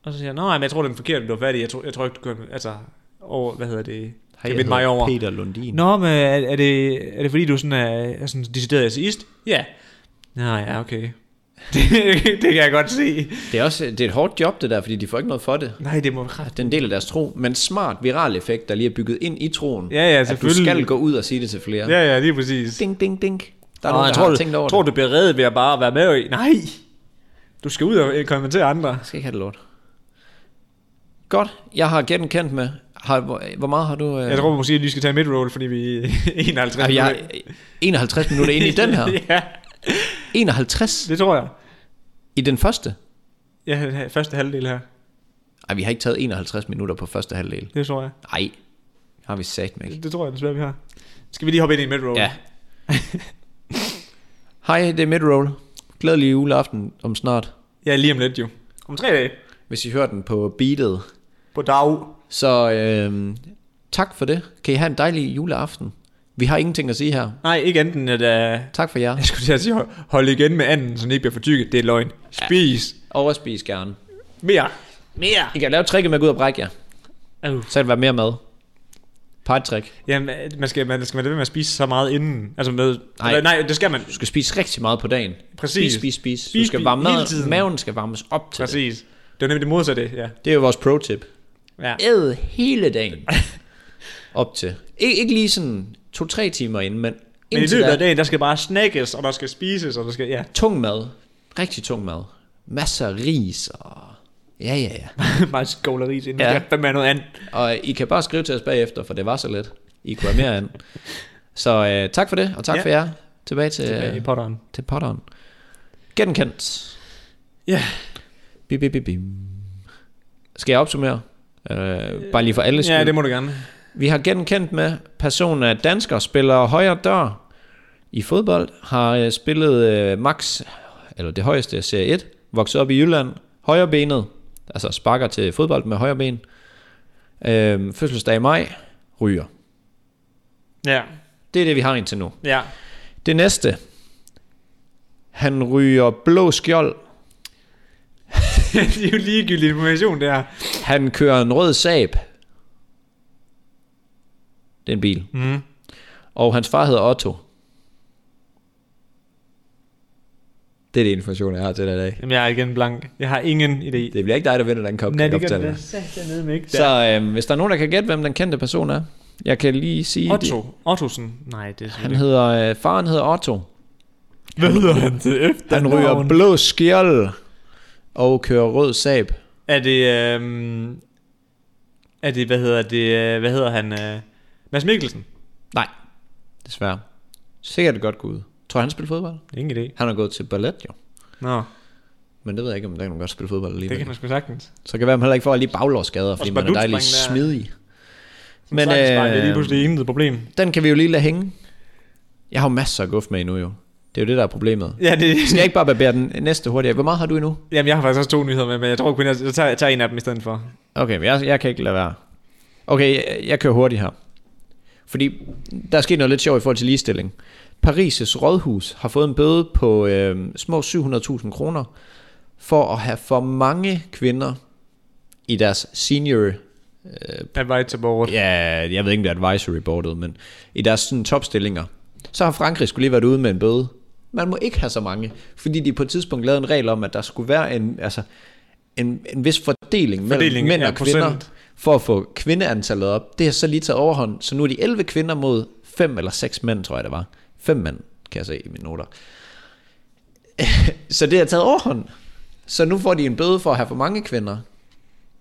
Speaker 1: Og så siger jeg, nej, men jeg tror, det er den forkerte, du var fat i. Jeg tror, jeg tror ikke, du kan, altså, over, hvad hedder det,
Speaker 2: Hej,
Speaker 1: kan
Speaker 2: jeg
Speaker 1: vinde mig
Speaker 2: hedder
Speaker 1: over.
Speaker 2: Peter Lundin.
Speaker 1: Nå, men er, er, det, er det fordi, du sådan er, er sådan decideret ateist? Ja. Nå ja, okay. Det, det kan jeg godt se.
Speaker 2: Det er også det er et hårdt job, det der, fordi de får ikke noget for det.
Speaker 1: Nej, det må ret.
Speaker 2: Det er en del af deres tro, men smart viral effekt, der lige er bygget ind i troen.
Speaker 1: Ja, ja,
Speaker 2: at du
Speaker 1: selvfølgelig.
Speaker 2: skal gå ud og sige det til flere.
Speaker 1: Ja, ja, lige præcis.
Speaker 2: Ding, ding, ding. Der er
Speaker 1: Nå,
Speaker 2: nogen, der
Speaker 1: jeg tror,
Speaker 2: har
Speaker 1: du-
Speaker 2: tænkt over
Speaker 1: tror,
Speaker 2: det.
Speaker 1: du bliver reddet ved at bare være med i. Nej! Du skal ud og øh, konvertere andre.
Speaker 2: Jeg skal ikke have det lort. Godt, jeg har gætten kendt med. Har, hvor, hvor meget har du... Øh...
Speaker 1: Jeg tror måske, at vi skal tage en midroll, fordi vi er 51
Speaker 2: Ej, jeg
Speaker 1: minutter.
Speaker 2: er 51 minutter ind i den her.
Speaker 1: ja,
Speaker 2: 51
Speaker 1: det tror jeg.
Speaker 2: i den første.
Speaker 1: Ja, første halvdel her.
Speaker 2: Ej, vi har ikke taget 51 minutter på første halvdel.
Speaker 1: Det tror jeg.
Speaker 2: Nej, har vi sat mig ikke.
Speaker 1: Det, det tror jeg desværre, vi har. Skal vi lige hoppe ind i en midroll?
Speaker 2: Ja. Hej, det er Midroll. Glædelig juleaften om snart.
Speaker 1: Ja, lige om lidt jo. Om tre dage.
Speaker 2: Hvis I hører den på beatet.
Speaker 1: På dag.
Speaker 2: Så øh, tak for det. Kan I have en dejlig juleaften. Vi har ingenting at sige her.
Speaker 1: Nej, ikke enten at... Uh,
Speaker 2: Tak for
Speaker 1: jeg
Speaker 2: jer.
Speaker 1: skulle til at sige, hold- hold igen med anden, så den ikke bliver for tykket. Det er løgn. Spis
Speaker 2: Overspis gerne.
Speaker 1: mere. Mere.
Speaker 2: I kan lave tricket med at gå ud og brække jer.
Speaker 1: Uh.
Speaker 2: Så kan det være mere mad. Partytrick.
Speaker 1: Jamen, øh, man skal, man skal være ved med at spise så meget inden. Altså med...
Speaker 2: Nej.
Speaker 1: Nej, nej det skal man.
Speaker 2: Du skal spise rigtig meget på dagen.
Speaker 1: Præcis.
Speaker 2: Spis, spis, spis. Du
Speaker 1: Spis,
Speaker 2: skal
Speaker 1: spis,
Speaker 2: varme
Speaker 1: hele
Speaker 2: maden.
Speaker 1: tiden.
Speaker 2: Maven skal varmes op til det.
Speaker 1: Præcis. Det var nemlig det modsatte, ja.
Speaker 2: Det er jo vores pro-tip.
Speaker 1: ja.
Speaker 2: Æd hele dagen. op til. Ik- ikke lige sådan to-tre timer inden, men
Speaker 1: Men i
Speaker 2: indtil
Speaker 1: løbet
Speaker 2: da,
Speaker 1: af dagen, der skal bare snakkes, og der skal spises, og der skal... Ja,
Speaker 2: tung mad. Rigtig tung mad. Masser af ris og... Ja, ja, ja.
Speaker 1: bare skåleri inden.
Speaker 2: Ja.
Speaker 1: Ja. Hvad med noget andet?
Speaker 2: Og I kan bare skrive til os bagefter, for det var så let. I kunne have mere end. Så øh, tak for det, og tak ja.
Speaker 1: Ja.
Speaker 2: for jer. Tilbage til,
Speaker 1: Ja. I
Speaker 2: Tilbage.
Speaker 1: Øh, potteren.
Speaker 2: til potteren. Genkendt.
Speaker 1: Ja.
Speaker 2: Bim, bim, bim, bim. Skal jeg opsummere? Øh, bare lige for alle
Speaker 1: Ja, det må du gerne.
Speaker 2: Vi har genkendt med personen af dansker, spiller højre dør i fodbold, har øh, spillet øh, max, eller det højeste serie 1, vokset op i Jylland, højre benet, altså sparker til fodbold med højre ben, øh, fødselsdag i maj, ryger.
Speaker 1: Ja.
Speaker 2: Det er det, vi har indtil nu.
Speaker 1: Ja.
Speaker 2: Det næste, han ryger blå skjold,
Speaker 1: det er jo ligegyldig information, det her.
Speaker 2: han kører en rød sab, det er en bil,
Speaker 1: Mm.
Speaker 2: og hans far hedder Otto. Det er det information, jeg har til dig i dag.
Speaker 1: Jamen, jeg er igen blank. Jeg har ingen idé.
Speaker 2: Det bliver ikke dig, der vinder den kop,
Speaker 1: Nej,
Speaker 2: kan
Speaker 1: det kan
Speaker 2: jeg fortælle
Speaker 1: det
Speaker 2: dig.
Speaker 1: satan nede med ikke. Så,
Speaker 2: Så øhm, hvis der er nogen, der kan gætte, hvem den kendte person er. Jeg kan lige sige...
Speaker 1: Otto. Ottosen. Nej, det er
Speaker 2: Det. Han
Speaker 1: selvfølgelig
Speaker 2: hedder... Øh, faren hedder Otto.
Speaker 1: ikke. Hvad hedder han til efter?
Speaker 2: Han ryger blå skjold og kører rød sab.
Speaker 1: Er det, øhm, er det, hvad hedder det, øh, hvad hedder han, øh, Mads Mikkelsen?
Speaker 2: Nej, desværre. Sikkert et godt gud. Tror jeg, han spiller fodbold?
Speaker 1: Ingen idé.
Speaker 2: Han har gået til ballet, jo.
Speaker 1: Nå,
Speaker 2: Men det ved jeg ikke, om der kan godt spille fodbold
Speaker 1: det kan
Speaker 2: alligevel.
Speaker 1: man sgu sagtens.
Speaker 2: Så kan det være, at man heller ikke får lige baglårsskader, fordi man er dejlig
Speaker 1: spardutspring der.
Speaker 2: smidig.
Speaker 1: Men,
Speaker 2: Men,
Speaker 1: øh, det er lige
Speaker 2: øh,
Speaker 1: pludselig intet problem.
Speaker 2: Den kan vi jo lige lade hænge. Jeg har jo masser af guf med endnu jo. Det er jo det, der er problemet.
Speaker 1: Ja, det,
Speaker 2: Skal jeg ikke bare barbere den næste hurtigere? Hvor meget har du endnu?
Speaker 1: jamen, jeg har faktisk også to nyheder med, men jeg tror kun, jeg, jeg, tager, jeg tager en af dem i stedet for.
Speaker 2: Okay, men jeg, jeg kan ikke lade være. Okay, jeg, jeg kører hurtigt her. Fordi der er sket noget lidt sjovt i forhold til ligestilling. Paris' rådhus har fået en bøde på øh, små 700.000 kroner for at have for mange kvinder i deres senior... Øh,
Speaker 1: Advice board. Ja.
Speaker 2: ja, jeg ved ikke, om det er advisory boardet, men i deres sådan, topstillinger. Så har Frankrig skulle lige været ude med en bøde. Man må ikke have så mange, fordi de på et tidspunkt lavede en regel om, at der skulle være en, altså, en, en vis fordeling,
Speaker 1: Fordeling,
Speaker 2: mellem mænd
Speaker 1: ja,
Speaker 2: og kvinder,
Speaker 1: procent.
Speaker 2: for at få kvindeantallet op. Det har så lige taget overhånd, så nu er de 11 kvinder mod 5 eller 6 mænd, tror jeg det var. 5 mænd, kan jeg se i mine noter. så det har taget overhånd. Så nu får de en bøde for at have for mange kvinder.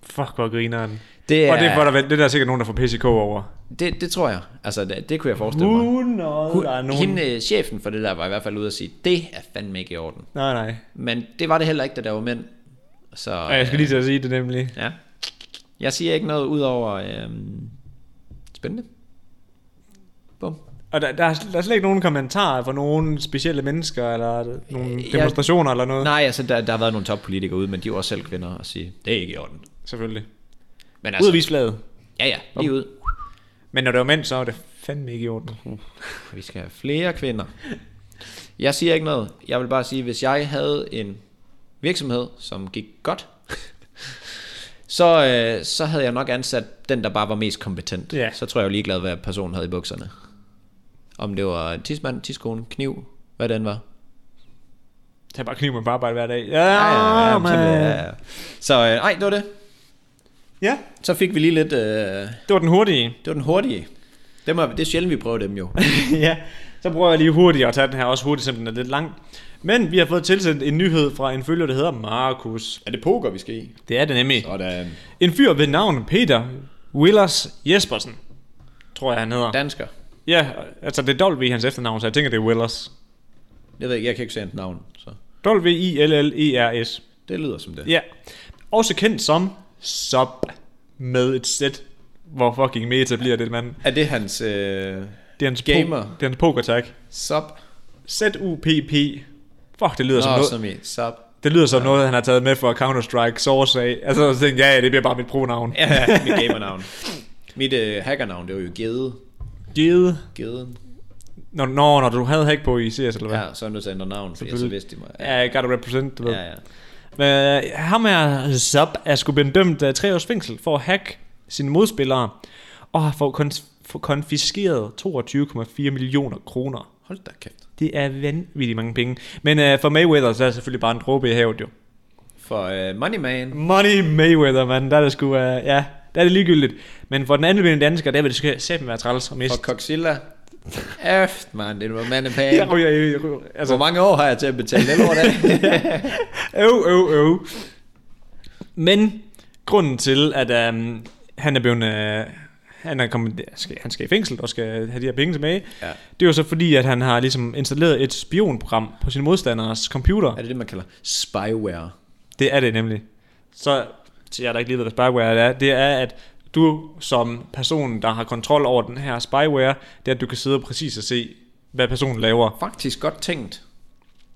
Speaker 1: Fuck, hvor griner den.
Speaker 2: Det
Speaker 1: Ja.
Speaker 2: er,
Speaker 1: Og det, var der, vel- det er der sikkert nogen, der får PCK over.
Speaker 2: det, det tror jeg. Altså, det, det kunne jeg forestille
Speaker 1: Uh.
Speaker 2: mig.
Speaker 1: noget,
Speaker 2: Hun, hende, øh, chefen for det der var i hvert fald ude at sige, det er fandme ikke i orden.
Speaker 1: Nej, nej.
Speaker 2: Men det var det heller ikke, da der var mænd. Så,
Speaker 1: Og jeg skal lige til at sige det nemlig.
Speaker 2: øh, ja. Jeg siger ikke noget ud over... Øh, spændende. Bum.
Speaker 1: Og der, der, er, der er slet ikke nogen kommentarer fra nogen specielle mennesker, eller nogle demonstrationer eller noget.
Speaker 2: Nej, altså der, der har været nogle toppolitikere ude, men de er jo også selv kvinder og sige, det er ikke i orden.
Speaker 1: Selvfølgelig.
Speaker 2: Men
Speaker 1: Altså. Ud
Speaker 2: altså,
Speaker 1: af visflaget.
Speaker 2: ja ja, lige ud.
Speaker 1: Men når det var mænd, så var det fandme ikke i orden.
Speaker 2: Vi skal have flere kvinder. Jeg siger ikke noget. Jeg vil bare sige, hvis jeg havde en virksomhed, som gik godt, så, øh, så havde jeg nok ansat den, der bare var mest kompetent.
Speaker 1: Ja.
Speaker 2: Så tror jeg jo ligeglad, hvad personen havde i bukserne. Om det var tidsmand, tidskone, kniv, hvad den var.
Speaker 1: Tag bare kniv med på arbejde hver dag. Ja, ja, ja,
Speaker 2: men sådan,
Speaker 1: Ah, man.
Speaker 2: ja. Så øh, ej, det var det.
Speaker 1: ja,
Speaker 2: Så fik vi lige lidt... Øh,
Speaker 1: det var den hurtige.
Speaker 2: det var den hurtige. Dem er, det er sjældent, vi prøver dem jo.
Speaker 1: ja, så prøver jeg lige hurtigt at tage den her, også hurtigt, selvom den er lidt lang. Men vi har fået tilsendt en nyhed fra en følger, der hedder Markus.
Speaker 2: er det poker, vi skal i?
Speaker 1: Det er det nemlig.
Speaker 2: Sådan.
Speaker 1: En fyr ved navn Peter Willers Jespersen, tror jeg han hedder.
Speaker 2: Dansker.
Speaker 1: Ja, altså det er W i hans efternavn, så jeg tænker, det er Willers.
Speaker 2: Jeg ved ikke, jeg kan ikke se hans navn, så...
Speaker 1: W-I-L-L-E-R-S.
Speaker 2: Det lyder som det.
Speaker 1: E, Ja. Også kendt som Sub med et sæt. Hvor fucking meta bliver det, mand.
Speaker 2: Er det hans øh,
Speaker 1: Det er hans
Speaker 2: Gamer.
Speaker 1: Po- det er hans pokertag.
Speaker 2: sub?
Speaker 1: Z-U-P-P. Fuck, det lyder, som
Speaker 2: Nå,
Speaker 1: noget,
Speaker 2: som i sub.
Speaker 1: det lyder som noget, han har taget med fra Counter-Strike Source af. Altså, så tænkte jeg, ja, ja, det bliver bare mit pro-navn.
Speaker 2: Ja, mit gamernavn. Mit øh, hackernavn, det var jo Gede.
Speaker 1: Gede.
Speaker 2: Geden.
Speaker 1: Nå, når, når du havde hack på i CS, eller hvad?
Speaker 2: Ja, så er jeg nødt til at ændre navn, for så
Speaker 1: Selvfølgelig.
Speaker 2: vidste de mig. Ja,
Speaker 1: Ja, jeg gotta represent, du ved.
Speaker 2: ja. ja.
Speaker 1: Men øh, ham her, Zap, er sgu blevet dømt af tre års fængsel for at hacke sine modspillere, og har fået konf- fået konfiskeret 22,4 millioner kroner.
Speaker 2: Hold da kæft.
Speaker 1: Det er vanvittigt mange penge. Men øh, for Mayweather, så er det selvfølgelig bare en dråbe i havet jo.
Speaker 2: For øh, Money Man.
Speaker 1: Money Mayweather, mand. Der er det sgu, øh, ja, der er det ligegyldigt. Men for den anden dansker, der vil det sgu sætte være træls og
Speaker 2: For
Speaker 1: miste.
Speaker 2: Coxilla. Æft, man, det var mand pæn.
Speaker 1: Jeg ryger, jeg ryger.
Speaker 2: Hvor
Speaker 1: Altså,
Speaker 2: mange år har jeg til at betale den lort af?
Speaker 1: øv, øv, øv. Men grunden til, at um, han er blevet... Øh, han, er kommet, skal, han skal i fængsel og skal have de her penge tilbage.
Speaker 2: Ja.
Speaker 1: Det er jo så fordi, at han har ligesom installeret et spionprogram på sin modstanders computer.
Speaker 2: er det det, man kalder spyware?
Speaker 1: Det er det nemlig. Så til jer, der ikke lige ved, hvad spyware er, det er, at du som person, der har kontrol over den her spyware, det er, at du kan sidde og præcis og se, hvad personen laver.
Speaker 2: Faktisk godt tænkt,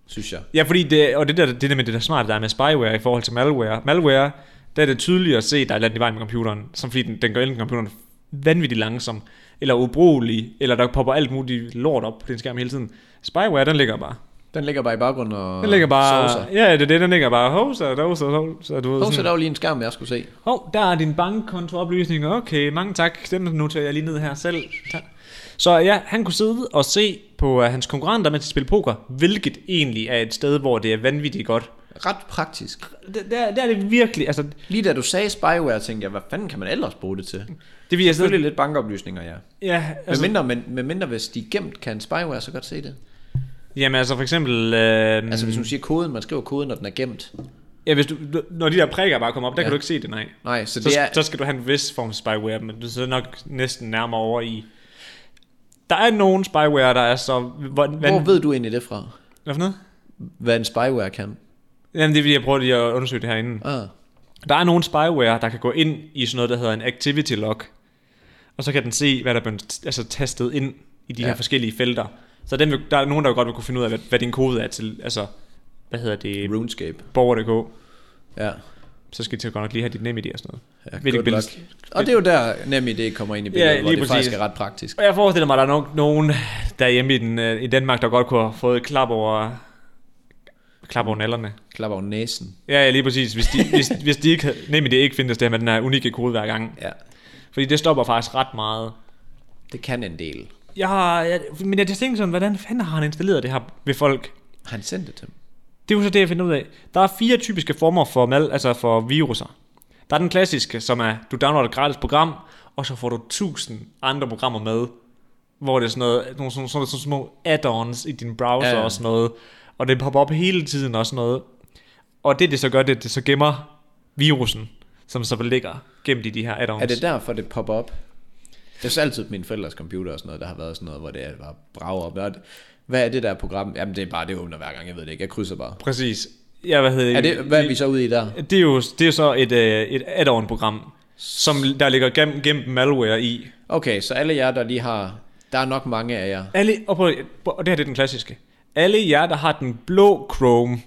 Speaker 2: synes jeg.
Speaker 1: Ja, fordi det, og det der, det der med det der smarte, der er med spyware i forhold til malware. Malware, der er det tydeligt at se, der er et eller andet i vejen med computeren, som fordi den, den gør enten computeren vanvittigt langsom, eller ubrugelig, eller der popper alt muligt lort op på din skærm hele tiden. Spyware, den ligger bare.
Speaker 2: Den ligger bare i baggrunden og
Speaker 1: Den ligger bare...
Speaker 2: sovser.
Speaker 1: Ja, det er det, den ligger bare. Hoser, doser, hoser, du ved,
Speaker 2: Hov,
Speaker 1: sådan-
Speaker 2: så der var lige en skærm, jeg skulle se.
Speaker 1: Hov, oh, der er din bankkontooplysning. Okay, mange tak. Den noterer jeg lige ned her selv. Tak. Så ja, han kunne sidde og se på uh, hans konkurrenter, mens de spillede poker, hvilket egentlig er et sted, hvor det er vanvittigt godt.
Speaker 2: Ret praktisk.
Speaker 1: Der, der, der er det virkelig, altså...
Speaker 2: Lige da du sagde spyware, tænkte jeg, hvad fanden kan man ellers bruge det til?
Speaker 1: Det vil jeg
Speaker 2: Selvfølgelig
Speaker 1: sidde...
Speaker 2: lidt bankoplysninger, ja.
Speaker 1: Ja, Mm. altså,
Speaker 2: Altså, med, mindre, men, med mindre hvis de er gemt, kan en spyware så godt se det. Mm.
Speaker 1: jamen altså for eksempel... Øh,
Speaker 2: Altså
Speaker 1: altså,
Speaker 2: hvis du siger koden, man skriver koden, når den er gemt.
Speaker 1: ja, hvis du, du- når de der prikker bare kommer op, der ja. kan du ikke se det, nej.
Speaker 2: Nej, så,
Speaker 1: Så,
Speaker 2: det er...
Speaker 1: så skal du have en vis form for spyware, men du sidder nok næsten nærmere over i... Der er nogen spyware, der er så... Hvor, hvad,
Speaker 2: Hvor ved du egentlig det fra?
Speaker 1: Hvad for noget?
Speaker 2: Hvad en spyware kan?
Speaker 1: Jamen det er fordi, jeg prøver lige at undersøge det herinde.
Speaker 2: Ah,
Speaker 1: Der er nogle spyware, der kan gå ind i sådan noget, der hedder en activity log. Og så kan den se, hvad der er blevet altså, tastet ind i de ja.
Speaker 2: Ja.
Speaker 1: her forskellige felter. Så den vil, der er nogen, der godt vil kunne finde ud af, hvad, hvad din kode er til, altså, hvad hedder det,
Speaker 2: RuneScape.
Speaker 1: borger.dk.
Speaker 2: Ja.
Speaker 1: Så skal de til godt nok lige have dit NemID og sådan noget.
Speaker 2: ja
Speaker 1: Hvilket
Speaker 2: good
Speaker 1: billede-
Speaker 2: luck. Og det er jo der nem idé kommer ind i billedet,
Speaker 1: Ja,
Speaker 2: hvor
Speaker 1: lige
Speaker 2: det faktisk
Speaker 1: præcis.
Speaker 2: er ret praktisk.
Speaker 1: Og jeg forestiller mig, at der er nok nogen derhjemme i, den, øh, i Danmark, der godt kunne have fået et klap over, klap over nallerne.
Speaker 2: Klap over næsen.
Speaker 1: Ja, ja, lige præcis. Hvis de, hvis, hvis de ikke, havde- NemID ikke findes det her med den her unikke kode hver gang.
Speaker 2: Ja,
Speaker 1: Fordi det stopper faktisk ret meget.
Speaker 2: det kan en del.
Speaker 1: Jeg har, jeg, men jeg tænker sådan, hvordan fanden har han installeret det her ved folk?
Speaker 2: Har han sendt det til dem?
Speaker 1: Det er jo så det, jeg finder ud af. Der er fire typiske former for, mal, altså for viruser. Der er den klassiske, som er, du downloader et gratis program, og så får du tusind andre programmer med, hvor det er sådan noget, nogle sådan, sådan, sådan små add-ons i din browser
Speaker 2: Ja,
Speaker 1: ja.
Speaker 2: ja.
Speaker 1: og sådan noget, og det popper op hele tiden og sådan noget. Og det, det så gør, det er, at det så gemmer virusen, som så ligger gemt i de her add-ons.
Speaker 2: Er det derfor, det popper op? Det er så altid mine forældres computer og sådan noget, der har været sådan noget, hvor det er bare brager op. Hvad er det- Hvad er det der program? Jamen det er bare, det åbner hver gang, jeg ved det ikke. Jeg krydser bare.
Speaker 1: Præcis. Ja, hvad hedder
Speaker 2: Er det, hvad er vi så ude i der?
Speaker 1: Det er jo, det er jo så et, øh, et add-on program, som der ligger gem, gemt malware i.
Speaker 2: Okay, så alle jer, der lige har Der er nok mange af jer.
Speaker 1: Alle, og, prøv, og det her det er den klassiske. Alle jer, der har den blå Chrome,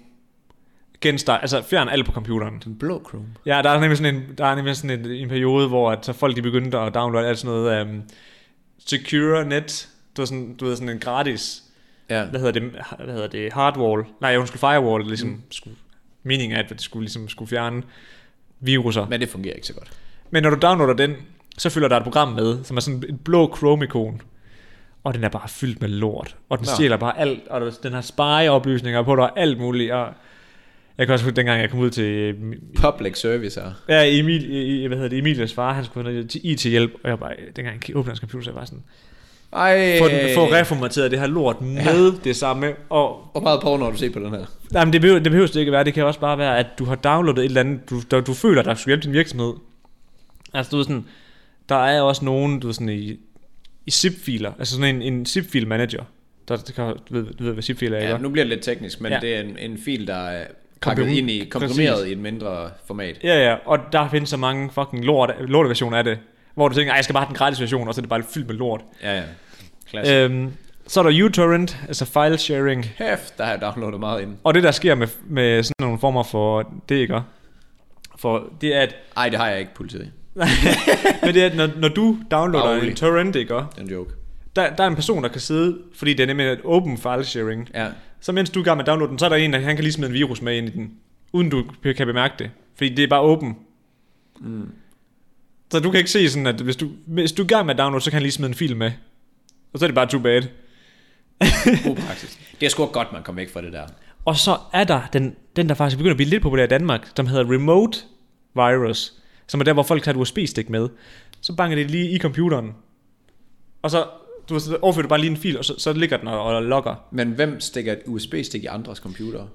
Speaker 1: genstart, altså fjern alt på computeren.
Speaker 2: Den blå Chrome.
Speaker 1: Ja, der er nemlig sådan en, der er nemlig sådan en, en periode, hvor at så folk de begyndte at downloade alt sådan noget um, Secure Net, du ved, sådan, du ved, sådan en gratis,
Speaker 2: Ja.
Speaker 1: hvad hedder det, hvad hedder det hardwall, nej, undskyld, firewall, ligesom mm. skulle, meningen er, at det skulle, ligesom skulle fjerne viruser. Men,
Speaker 2: Men det fungerer ikke så godt.
Speaker 1: Men når du downloader den, så fylder der et program med, som er sådan et blå Chrome-ikon, og den er bare fyldt med lort, og den
Speaker 2: Nå.
Speaker 1: stjæler bare alt, og der- den har spy-oplysninger på dig, og alt muligt, og jeg kan også huske, dengang jeg kom ud til øh,
Speaker 2: Public service her.
Speaker 1: Ja, Emil, i- i- hvad hedder det, Emilias far, han skulle have noget til IT-hjælp, og jeg var bare, dengang jeg åbnede hans computer, så jeg var sådan,
Speaker 2: Ej.
Speaker 1: få, den,
Speaker 2: Øh.
Speaker 1: få reformateret det her lort med ja. det samme, og
Speaker 2: Hvor meget porno har du set på den her?
Speaker 1: nej, men det, behøver, det behøver det ikke være, det kan også bare være, at du har downloadet et eller andet, du, der, du føler, der skulle hjælpe din virksomhed. Altså, du ved sådan, der er også nogen, du ved sådan, i, i zip-filer, altså sådan en, en zip-fil manager, der, der kan, du, ved, du ved, hvad zip-filer er,
Speaker 2: Ja,
Speaker 1: ja,
Speaker 2: nu bliver det lidt teknisk, men ja.
Speaker 1: Ja.
Speaker 2: det er en, en fil, der er pakket
Speaker 1: Komprim-
Speaker 2: ind i, komprimeret
Speaker 1: præcis.
Speaker 2: i et mindre format.
Speaker 1: ja, ja, og der findes så mange fucking lort, lortversioner af det, hvor du tænker, "Ej, jeg skal bare have den gratis version, og så er det bare fyldt med lort.
Speaker 2: Ja, ja. Klassisk. Øh.
Speaker 1: Øhm, så er der uTorrent, altså file sharing.
Speaker 2: Hæft, der har jeg downloadet meget ind.
Speaker 1: Og det der sker med, med sådan nogle former for det, ikke? For det er, at,
Speaker 2: Ej, det har jeg ikke politiet.
Speaker 1: men det er, at når, når du downloader
Speaker 2: Bare rolig.
Speaker 1: en torrent, ikke?
Speaker 2: Det er en joke.
Speaker 1: Der, der er en person, der kan sidde, fordi det er nemlig et open file sharing.
Speaker 2: Ja.
Speaker 1: Så mens du er i gang med at downloade den, så er der en, der han kan lige smide en virus med ind i den, uden du kan bemærke det. Fordi det er bare åben. Mm. Så du kan ikke se sådan, at hvis du, hvis du er i gang med at downloade, så kan han lige smide en fil med. Og så er det bare too bad.
Speaker 2: God praksis. Det er sgu godt, man kom væk fra det der.
Speaker 1: Og så er der den, den der faktisk begynder at blive lidt populær i Danmark, som hedder Remote Virus, som er der, hvor folk tager et USB-stik med. Så banker det lige i computeren. Og så, du, ved, så overfører du bare lige en fil, og så, så ligger den og, og logger.
Speaker 2: Men hvem stikker et USB-stik i andres computer?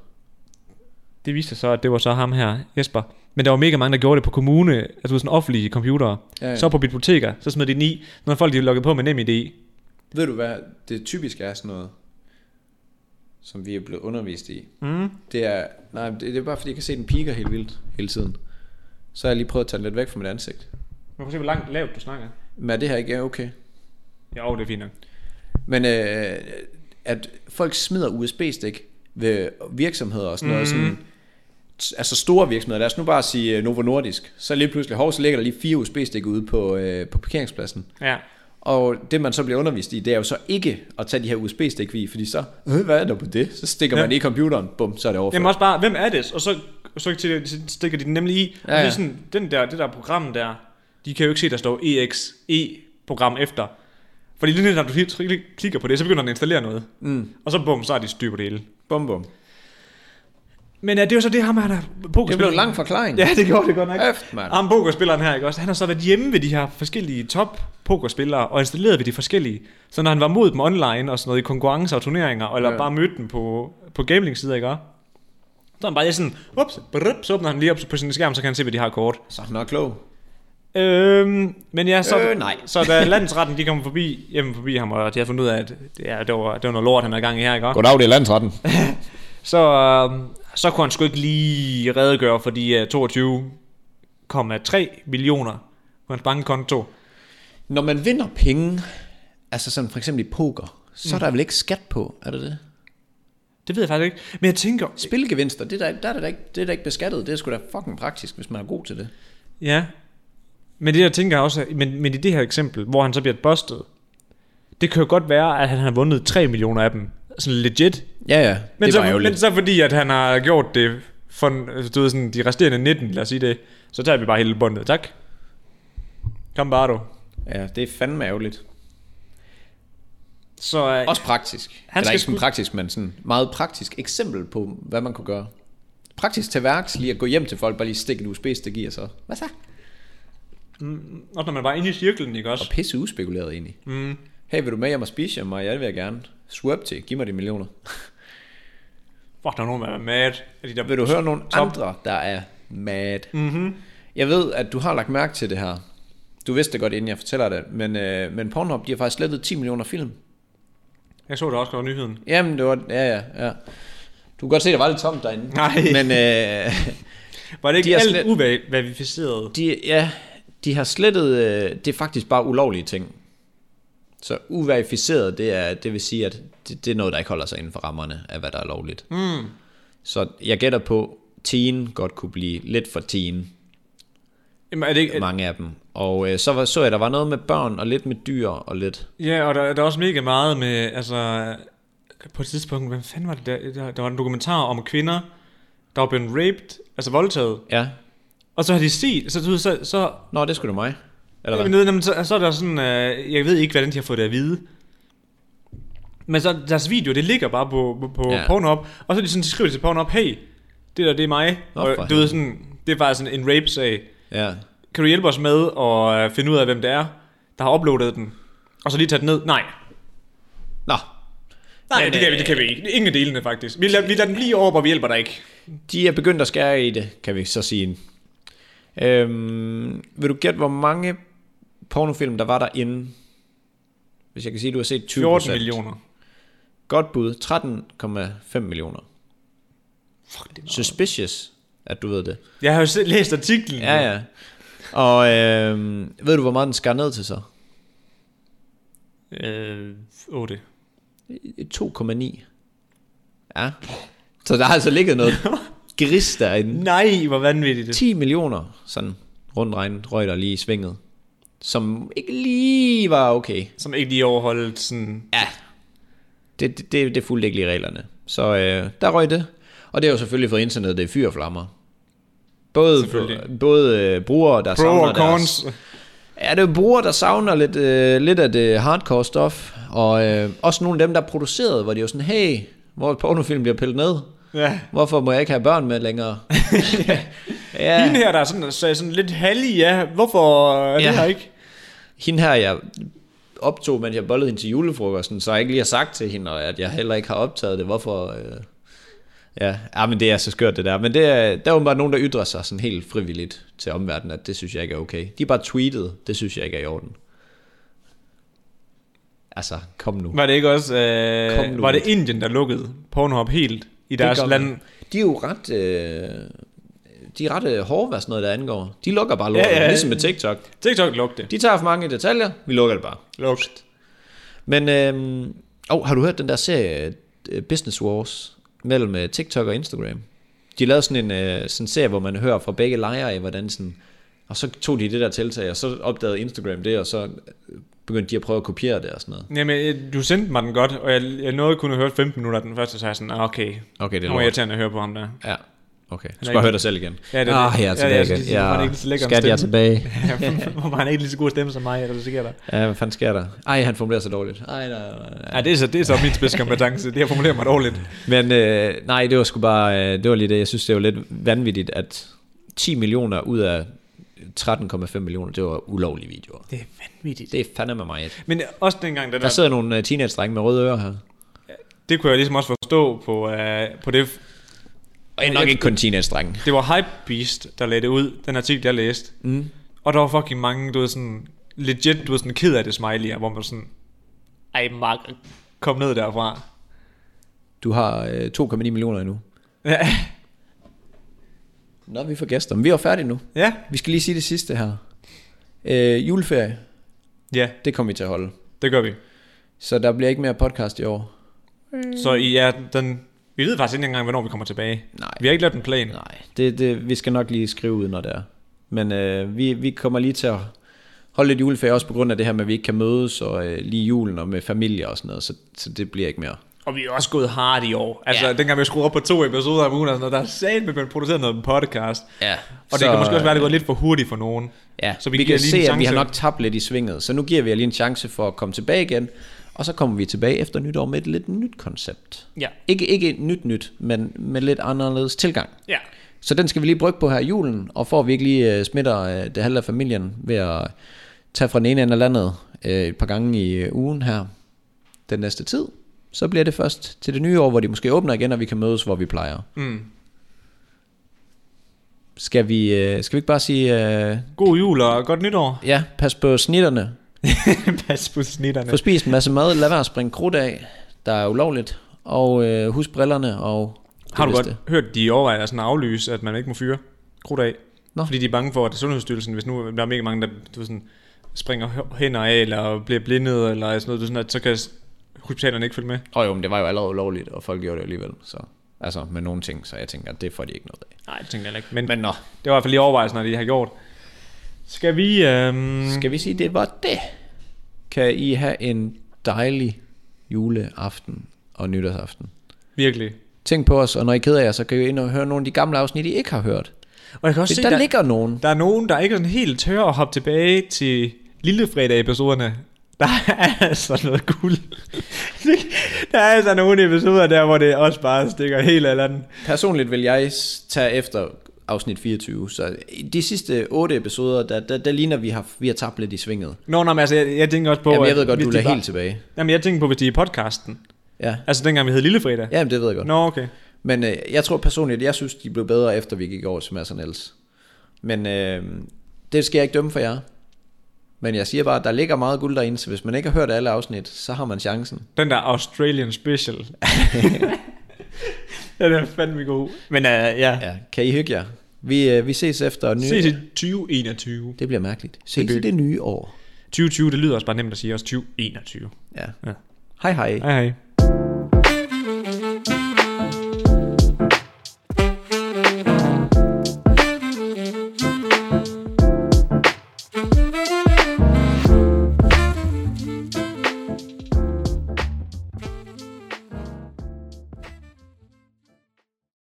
Speaker 1: Det viste sig så, at det var så ham her, Jesper. Men der var mega mange, der gjorde det på kommune, altså du ved, sådan offentlige computere.
Speaker 2: Ja,
Speaker 1: Ja,
Speaker 2: ja.
Speaker 1: ja. Så på biblioteker, så smed de den i, når folk de loggede på med NemID.
Speaker 2: Ved du hvad, det typisk er sådan noget, som vi er blevet undervist i. Mm. Det er, nej, det, det er bare fordi, jeg kan se den piker helt vildt hele tiden. Så har jeg lige prøvet at tage den lidt væk fra mit ansigt.
Speaker 1: Man kan se, hvor langt lavt du snakker.
Speaker 2: Men er det her ikke ja, okay?
Speaker 1: Jo, det er fint nok.
Speaker 2: Men øh, at folk smider USB-stik ved virksomheder og sådan noget,
Speaker 1: Mhm.
Speaker 2: sådan, t- altså store virksomheder, lad os nu bare sige øh, Novo Nordisk, så lige pludselig, hov, så ligger der lige fire USB-stik ude på, øh, på parkeringspladsen.
Speaker 1: Ja.
Speaker 2: Og det, man så bliver undervist i, det er jo så ikke at tage de her USB-stik i, fordi så, øh, hvad er der på det? Så stikker ja.
Speaker 1: Ja.
Speaker 2: man det i computeren, bum, så er det overført.
Speaker 1: Jamen også bare, hvem er det? Og så, og så til- så stikker de den nemlig i. Ja,
Speaker 2: Ja,
Speaker 1: ja. Og det
Speaker 2: ja.
Speaker 1: er sådan, den der, det der program der, de kan jo ikke se, der står EXE-program efter. Fordi lige når du helt tryk- klikker på det, så begynder den at installere noget. Mm. Og så bum, så er de styr på det hele.
Speaker 2: bum, bum.
Speaker 1: Men ja, det er jo så det, ham her, der
Speaker 2: Det blev en
Speaker 1: pokerspilleren.
Speaker 2: lang forklaring.
Speaker 1: Ja, det gjorde det godt nok. Ah.
Speaker 2: Øft, Mm. mand.
Speaker 1: Ham pokerspilleren her, ikke også? Han har så været hjemme ved de her forskellige top pokerspillere og installeret ved de forskellige. Så når han var mod dem online og sådan noget i konkurrencer og turneringer, eller
Speaker 2: Ja.
Speaker 1: ja. bare mødte dem på, på gaming-sider, ikke også? Så er han bare lige sådan, ups, brup, så åbner han lige op på sin skærm, så kan han se, hvad de har kort.
Speaker 2: Så er han nok klog.
Speaker 1: Øhm, men ja, så,
Speaker 2: Øh, nej.
Speaker 1: så da landsretten de kom forbi, hjemme forbi ham, og de har fundet ud af, at det, er, det, var, det var noget lort, han havde gang i her, ikke også?
Speaker 3: Goddag, det er landsretten.
Speaker 1: Så, øhm, så kunne han sgu ikke lige redegøre for de øh, 22,3 millioner på hans bankkonto.
Speaker 2: Når man vinder penge, altså sådan for eksempel i poker,
Speaker 1: Mm.
Speaker 2: så er der vel ikke skat på, er det det?
Speaker 1: Det ved jeg faktisk ikke. Men jeg tænker...
Speaker 2: Spilgevinster, det er der, der, er der, ikke, det er der ikke beskattet. Det er sgu da fucking praktisk, hvis man er god til det.
Speaker 1: Ja. Men det, jeg tænker også... Men, men i det her eksempel, hvor han så bliver bustet, det kan jo godt være, at han har vundet 3 millioner af dem. Sådan legit.
Speaker 2: Ja, ja.
Speaker 1: Men,
Speaker 2: det
Speaker 1: så,
Speaker 2: var ærgerligt.
Speaker 1: men så fordi, at han har gjort det for altså, du ved, sådan, de resterende 19, lad os sige det, så tager vi bare hele bundet. Tak. Kom bare du.
Speaker 2: Ja, det er fandme ærgerligt.
Speaker 1: Så, øh,
Speaker 2: Også praktisk. Han Eller
Speaker 1: skal
Speaker 2: ikke sådan
Speaker 1: sgu-
Speaker 2: praktisk, men sådan meget praktisk eksempel på, hvad man kunne gøre. Praktisk til værks, lige at gå hjem til folk, bare lige stikke et USB-stik i, og så... Hvad så?
Speaker 1: også når man bare er inde i cirklen, ikke
Speaker 2: Og
Speaker 1: også?
Speaker 2: pisse uspekuleret egentlig. Mm. Hey, vil du med hjem og spise hjem? mig? Ja, det vil jeg gerne. Swap til. Giv mig de millioner.
Speaker 1: Fuck, der er nogen, der er mad. Af de der
Speaker 2: Vil du høre nogle
Speaker 1: Top.
Speaker 2: andre, der er mad? Mm-hmm. Jeg ved, at du har lagt mærke til det her. Du vidste det godt, inden jeg fortæller det. Men, øh, men Pornhub, de har faktisk slettet 10 millioner film.
Speaker 1: Jeg så det også godt i nyheden.
Speaker 2: Jamen, det var... Ja, ja, ja. Du kan godt se, det var lidt tomt derinde.
Speaker 1: Nej.
Speaker 2: Men øh,
Speaker 1: Var det ikke
Speaker 2: De er
Speaker 1: alt
Speaker 2: slet-
Speaker 1: slet... uverificeret?
Speaker 2: de, ja, de har slettet... Øh, det er faktisk bare ulovlige ting. Så uverificeret, det, er, det vil sige, at det, det er noget, der ikke holder sig inden for rammerne af, hvad der er lovligt. Mm. Så jeg gætter på, teen godt kunne blive lidt for teen,
Speaker 1: Jamen, er det ikke, er,
Speaker 2: mange af dem. Og øh, så var, så jeg, der var noget med børn, og lidt med dyr, og lidt...
Speaker 1: ja, og der, der er også mega meget med, altså, på et tidspunkt, hvad fanden var det der? Der, der var en dokumentar om kvinder, der var blevet raped, altså voldtaget.
Speaker 2: Ja.
Speaker 1: Og så har de set, så, så, så, så
Speaker 2: Nå, det skulle du mig. Eller
Speaker 1: Jamen,
Speaker 2: hvad?
Speaker 1: ved, jamen, så, så er der sådan, øh, jeg ved ikke, hvordan de har fået det at vide. Men så deres video, det ligger bare på, på, på
Speaker 2: Ja.
Speaker 1: ja. Pornhub, og så er de sådan, de skriver til Pornhub, hey, det der, det er mig.
Speaker 2: Nå, for
Speaker 1: og du ved
Speaker 2: helvede.
Speaker 1: sådan, det er faktisk sådan en rape-sag.
Speaker 2: Ja.
Speaker 1: Kan du hjælpe os med at øh, finde ud af, hvem det er, der har uploadet den? Og så lige tage den ned? Nej.
Speaker 2: Nå,
Speaker 1: Nej,
Speaker 2: Men,
Speaker 1: det, kan, vi,
Speaker 2: øh,
Speaker 1: det kan vi ikke. Ingen af delene, faktisk. Vi lader, vi lader den lige over, hvor vi hjælper dig ikke.
Speaker 2: de er begyndt at skære i det, kan vi så sige. Øhm, vil du gætte, hvor mange pornofilm, der var derinde? Hvis jeg kan sige, at du har set 20
Speaker 1: 14 millioner.
Speaker 2: Godt bud. 13,5 millioner.
Speaker 1: Fuck, det er meget.
Speaker 2: Suspicious, at du ved det.
Speaker 1: Jeg har jo selv læst artiklen.
Speaker 2: Ja, ja. Og øhm, ved du, hvor meget den skar ned til så?
Speaker 1: ja. Øh, 8.
Speaker 2: 2,9. Ja. Så der har altså ligget noget gris derinde.
Speaker 1: Nej, hvor vanvittigt.
Speaker 2: 10 millioner, sådan rundt regnet, røg der lige i svinget. Som ikke lige var okay.
Speaker 1: som ikke lige overholdt sådan...
Speaker 2: Ja. Det, det, det, det fulgte ikke lige reglerne. Så øh, der røg det. Og det har jo selvfølgelig fået internettet i fyr og flammer. Både,
Speaker 1: Selvfølgelig.
Speaker 2: både øh, brugere, der
Speaker 1: Pro
Speaker 2: savner
Speaker 1: og
Speaker 2: deres,
Speaker 1: cons.
Speaker 2: Ja, det er jo brugere, der savner lidt, øh, lidt af det hardcore stof, og øh, også nogle af dem, der producerede, hvor de jo sådan, hey, hvor pornofilm bliver pillet ned,
Speaker 1: Ja.
Speaker 2: hvorfor må jeg ikke have børn med længere?
Speaker 1: ja. Hende
Speaker 2: ja,
Speaker 1: her, der er sådan, sagde sådan lidt hallig, ja. Hvorfor er
Speaker 2: Ja.
Speaker 1: det her ikke?
Speaker 2: hende her, jeg optog, mens jeg bollede hende til julefrokosten, så jeg ikke lige har sagt til hende, at jeg heller ikke har optaget det, hvorfor... Øh, ja. ja, men det er så skørt det der, men det er, der er jo bare nogen, der ytrer sig sådan helt frivilligt til omverdenen, at det synes jeg ikke er okay. De er bare tweetet, det synes jeg ikke er i orden. Altså, kom nu.
Speaker 1: Var det ikke også...
Speaker 2: Kom
Speaker 1: Øh,
Speaker 2: nu
Speaker 1: var det
Speaker 2: ud.
Speaker 1: Indien, der lukkede Pornhub helt i deres
Speaker 2: gør
Speaker 1: land?
Speaker 2: man. De er jo ret... Øh, de er ret øh, hårde, hvad sådan noget der angår. De lukker bare lortet, ja,
Speaker 1: Ja,
Speaker 2: ja.
Speaker 1: ja.
Speaker 2: ligesom med TikTok.
Speaker 1: TikTok lukkede det.
Speaker 2: De tager for mange detaljer, vi lukker det bare.
Speaker 1: Lukt.
Speaker 2: Men, øh, oh, har du hørt den der serie, øh, Business Wars, mellem øh, TikTok og Instagram? De lavede sådan en øh, sådan en serie, hvor man hører fra begge lejre af, hvordan sådan... Og så tog de det der tiltag, og så opdagede Instagram det, og så øh, begyndte de at prøve at kopiere det og sådan noget.
Speaker 1: Jamen, øh, du sendte mig den godt, og jeg, jeg nåede kun at høre 15 minutter af den første, så jeg sådan, ah, okay,
Speaker 2: Okay, det
Speaker 1: nu var
Speaker 2: er lort.
Speaker 1: irriterende at høre på ham der.
Speaker 2: Ja, okay. Du skal
Speaker 1: ikke-
Speaker 2: bare høre dig selv igen.
Speaker 1: Ja, det er
Speaker 2: ah,
Speaker 1: det.
Speaker 2: jeg er
Speaker 1: Ja,
Speaker 2: tilbage
Speaker 1: ja,
Speaker 2: igen.
Speaker 1: jeg skulle sige, hvorfor er det ikke så lækker en
Speaker 2: skat, jeg er
Speaker 1: stemme?
Speaker 2: tilbage.
Speaker 1: Hvor var han ikke lige så god stemme som mig, eller det sker der?
Speaker 2: Ja, hvad fanden sker der? Ej, han formulerer sig dårligt. Ej, nej, nej, nej.
Speaker 1: Ja, det er så, det er så min spidskompetence, det har formuleret mig dårligt.
Speaker 2: Men øh, nej, det var sgu bare, øh, det var lige det. Jeg synes, det var lidt vanvittigt, at 10 millioner ud af 13,5 millioner, det var ulovlige videoer.
Speaker 1: Det er vanvittigt.
Speaker 2: Det er fandeme mig. et.
Speaker 1: Men også dengang, den
Speaker 2: Der sidder nogle øh, teenage-drenge med røde ører her.
Speaker 1: det kunne jeg ligesom også forstå på, øh, på det
Speaker 2: Og jeg er nok ikke kun teenage-drenge.
Speaker 1: Det var Hypebeast, der lagde det ud, den artikel, jeg læste. Mm. Og der var fucking mange, du ved sådan, legit, du ved sådan, ked af det smiley'er, hvor man sådan, ej Mark, kom ned derfra.
Speaker 2: Du har øh, 2,9 millioner endnu.
Speaker 1: Ja,
Speaker 2: Nå, vi får gæster. Men vi er jo færdige nu.
Speaker 1: ja.
Speaker 2: Vi skal lige sige det sidste her. Øh, juleferie,
Speaker 1: ja
Speaker 2: det kommer vi til at holde.
Speaker 1: det gør vi.
Speaker 2: Så der bliver ikke mere podcast i år.
Speaker 1: Så I er den, vi ved faktisk ikke engang, hvornår vi kommer tilbage.
Speaker 2: Nej.
Speaker 1: Vi har ikke lavet en plan.
Speaker 2: Nej, det, det, vi skal nok lige skrive ud, når det er. Men øh, vi, vi kommer lige til at holde lidt juleferie, også på grund af det her med, at vi ikke kan mødes, og øh, lige julen og med familie og sådan noget, så, så det bliver ikke mere.
Speaker 1: Og vi er også gået hard i år. Altså,
Speaker 2: Ja.
Speaker 1: ja. dengang vi skruede op på to episoder om ugen, og sådan noget, der er sat med, at man producerer noget podcast.
Speaker 2: Ja. øh,
Speaker 1: Og så, det kan måske også være, at det går lidt for hurtigt for nogen.
Speaker 2: Ja,
Speaker 1: Så
Speaker 2: så
Speaker 1: vi
Speaker 2: vi, vi
Speaker 1: giver
Speaker 2: kan
Speaker 1: lige
Speaker 2: se,
Speaker 1: en
Speaker 2: at vi har
Speaker 1: chance.
Speaker 2: nok tabt lidt i svinget, så nu giver vi jer lige en chance for at komme tilbage igen, og så kommer vi tilbage efter nytår med et lidt nyt koncept.
Speaker 1: Ja.
Speaker 2: Ikke, ikke et nyt nyt, men med lidt anderledes tilgang.
Speaker 1: Ja.
Speaker 2: Så den skal vi lige brygge på her i julen, og for at vi ikke lige øh, smitter øh, det halve af familien ved at tage fra den ene ende af landet øh, et par gange i øh, ugen her den næste tid, så bliver det først til det nye år, hvor de måske åbner igen, og vi kan mødes, hvor vi plejer.
Speaker 1: Mm.
Speaker 2: Skal vi, øh, skal vi ikke bare sige, øh,
Speaker 1: God jul og godt nytår.
Speaker 2: ja, pas på snitterne,
Speaker 1: Pas på snitterne.
Speaker 2: få spist en masse mad, lad være at springe krudt af, der er ulovligt, og øh, husk brillerne, og det
Speaker 1: Har du
Speaker 2: bedste.
Speaker 1: godt hørt, de overvejer sådan at aflyse, at man ikke må fyre krudt af?
Speaker 2: Nå.
Speaker 1: Fordi de er bange for, at Sundhedsstyrelsen, hvis nu der er mega mange, der du ved sådan, springer hø- hænder af, eller bliver blindet, eller sådan noget, sådan at, så kan s- hospitalerne ikke følge med.
Speaker 2: Og jo, men det var jo allerede ulovligt, og folk gjorde det alligevel. Så, altså med nogle ting, så jeg tænker, det får de ikke noget af.
Speaker 1: Nej, det tænker jeg heller ikke. Men, Men
Speaker 2: Men nå,
Speaker 1: det var i hvert fald lige overvejelsen, når de har gjort. Skal vi... Øhm,
Speaker 2: skal vi sige, det var det. Kan I have en dejlig juleaften og nytårsaften.
Speaker 1: Virkelig.
Speaker 2: Tænk på os, og når I keder jer, så kan I ind og høre nogle af de gamle afsnit, I ikke har hørt.
Speaker 1: Og jeg kan også
Speaker 2: Se,
Speaker 1: se,
Speaker 2: der, der
Speaker 1: der,
Speaker 2: ligger nogen.
Speaker 1: der er nogen, der ikke er sådan helt tør at hoppe tilbage til Lillefredag-episoderne. Der er altså noget guld. der er altså nogle episoder der, hvor det også bare stikker helt eller andet.
Speaker 2: Personligt vil jeg s- tage efter afsnit 24, så i de sidste otte episoder, der, der, der ligner vi har, vi har tabt lidt i svinget.
Speaker 1: Nå, nå, men altså, jeg, jeg tænker også på...
Speaker 2: Jamen, jeg
Speaker 1: at
Speaker 2: ved godt,
Speaker 1: hvis
Speaker 2: du
Speaker 1: de
Speaker 2: lader
Speaker 1: bare-
Speaker 2: helt tilbage.
Speaker 1: Jamen, jeg tænker på, hvis de er i podcasten.
Speaker 2: Ja,
Speaker 1: Altså, dengang vi hed Lillefredag.
Speaker 2: Jamen, det ved jeg godt.
Speaker 1: Nå, okay.
Speaker 2: Men øh, jeg tror personligt, jeg synes, de blev bedre, efter vi gik over til Mads og Niels. Men øh, det skal jeg ikke dømme for jer. Men jeg siger bare, at der ligger meget guld derinde, så hvis man ikke har hørt alle afsnit, så har man chancen.
Speaker 1: Den der Australian Special. den er fandme god. Men uh, ja.
Speaker 2: Ja, kan I hygge jer? Vi, øh, vi ses efter nye...
Speaker 1: Ses i 2021.
Speaker 2: Det bliver mærkeligt. Ses
Speaker 1: bliver-
Speaker 2: i det nye år.
Speaker 1: 2020, det lyder også bare nemt at sige, også 2021.
Speaker 2: Ja.
Speaker 1: Ja.
Speaker 2: Hej hej.
Speaker 1: Hej hej.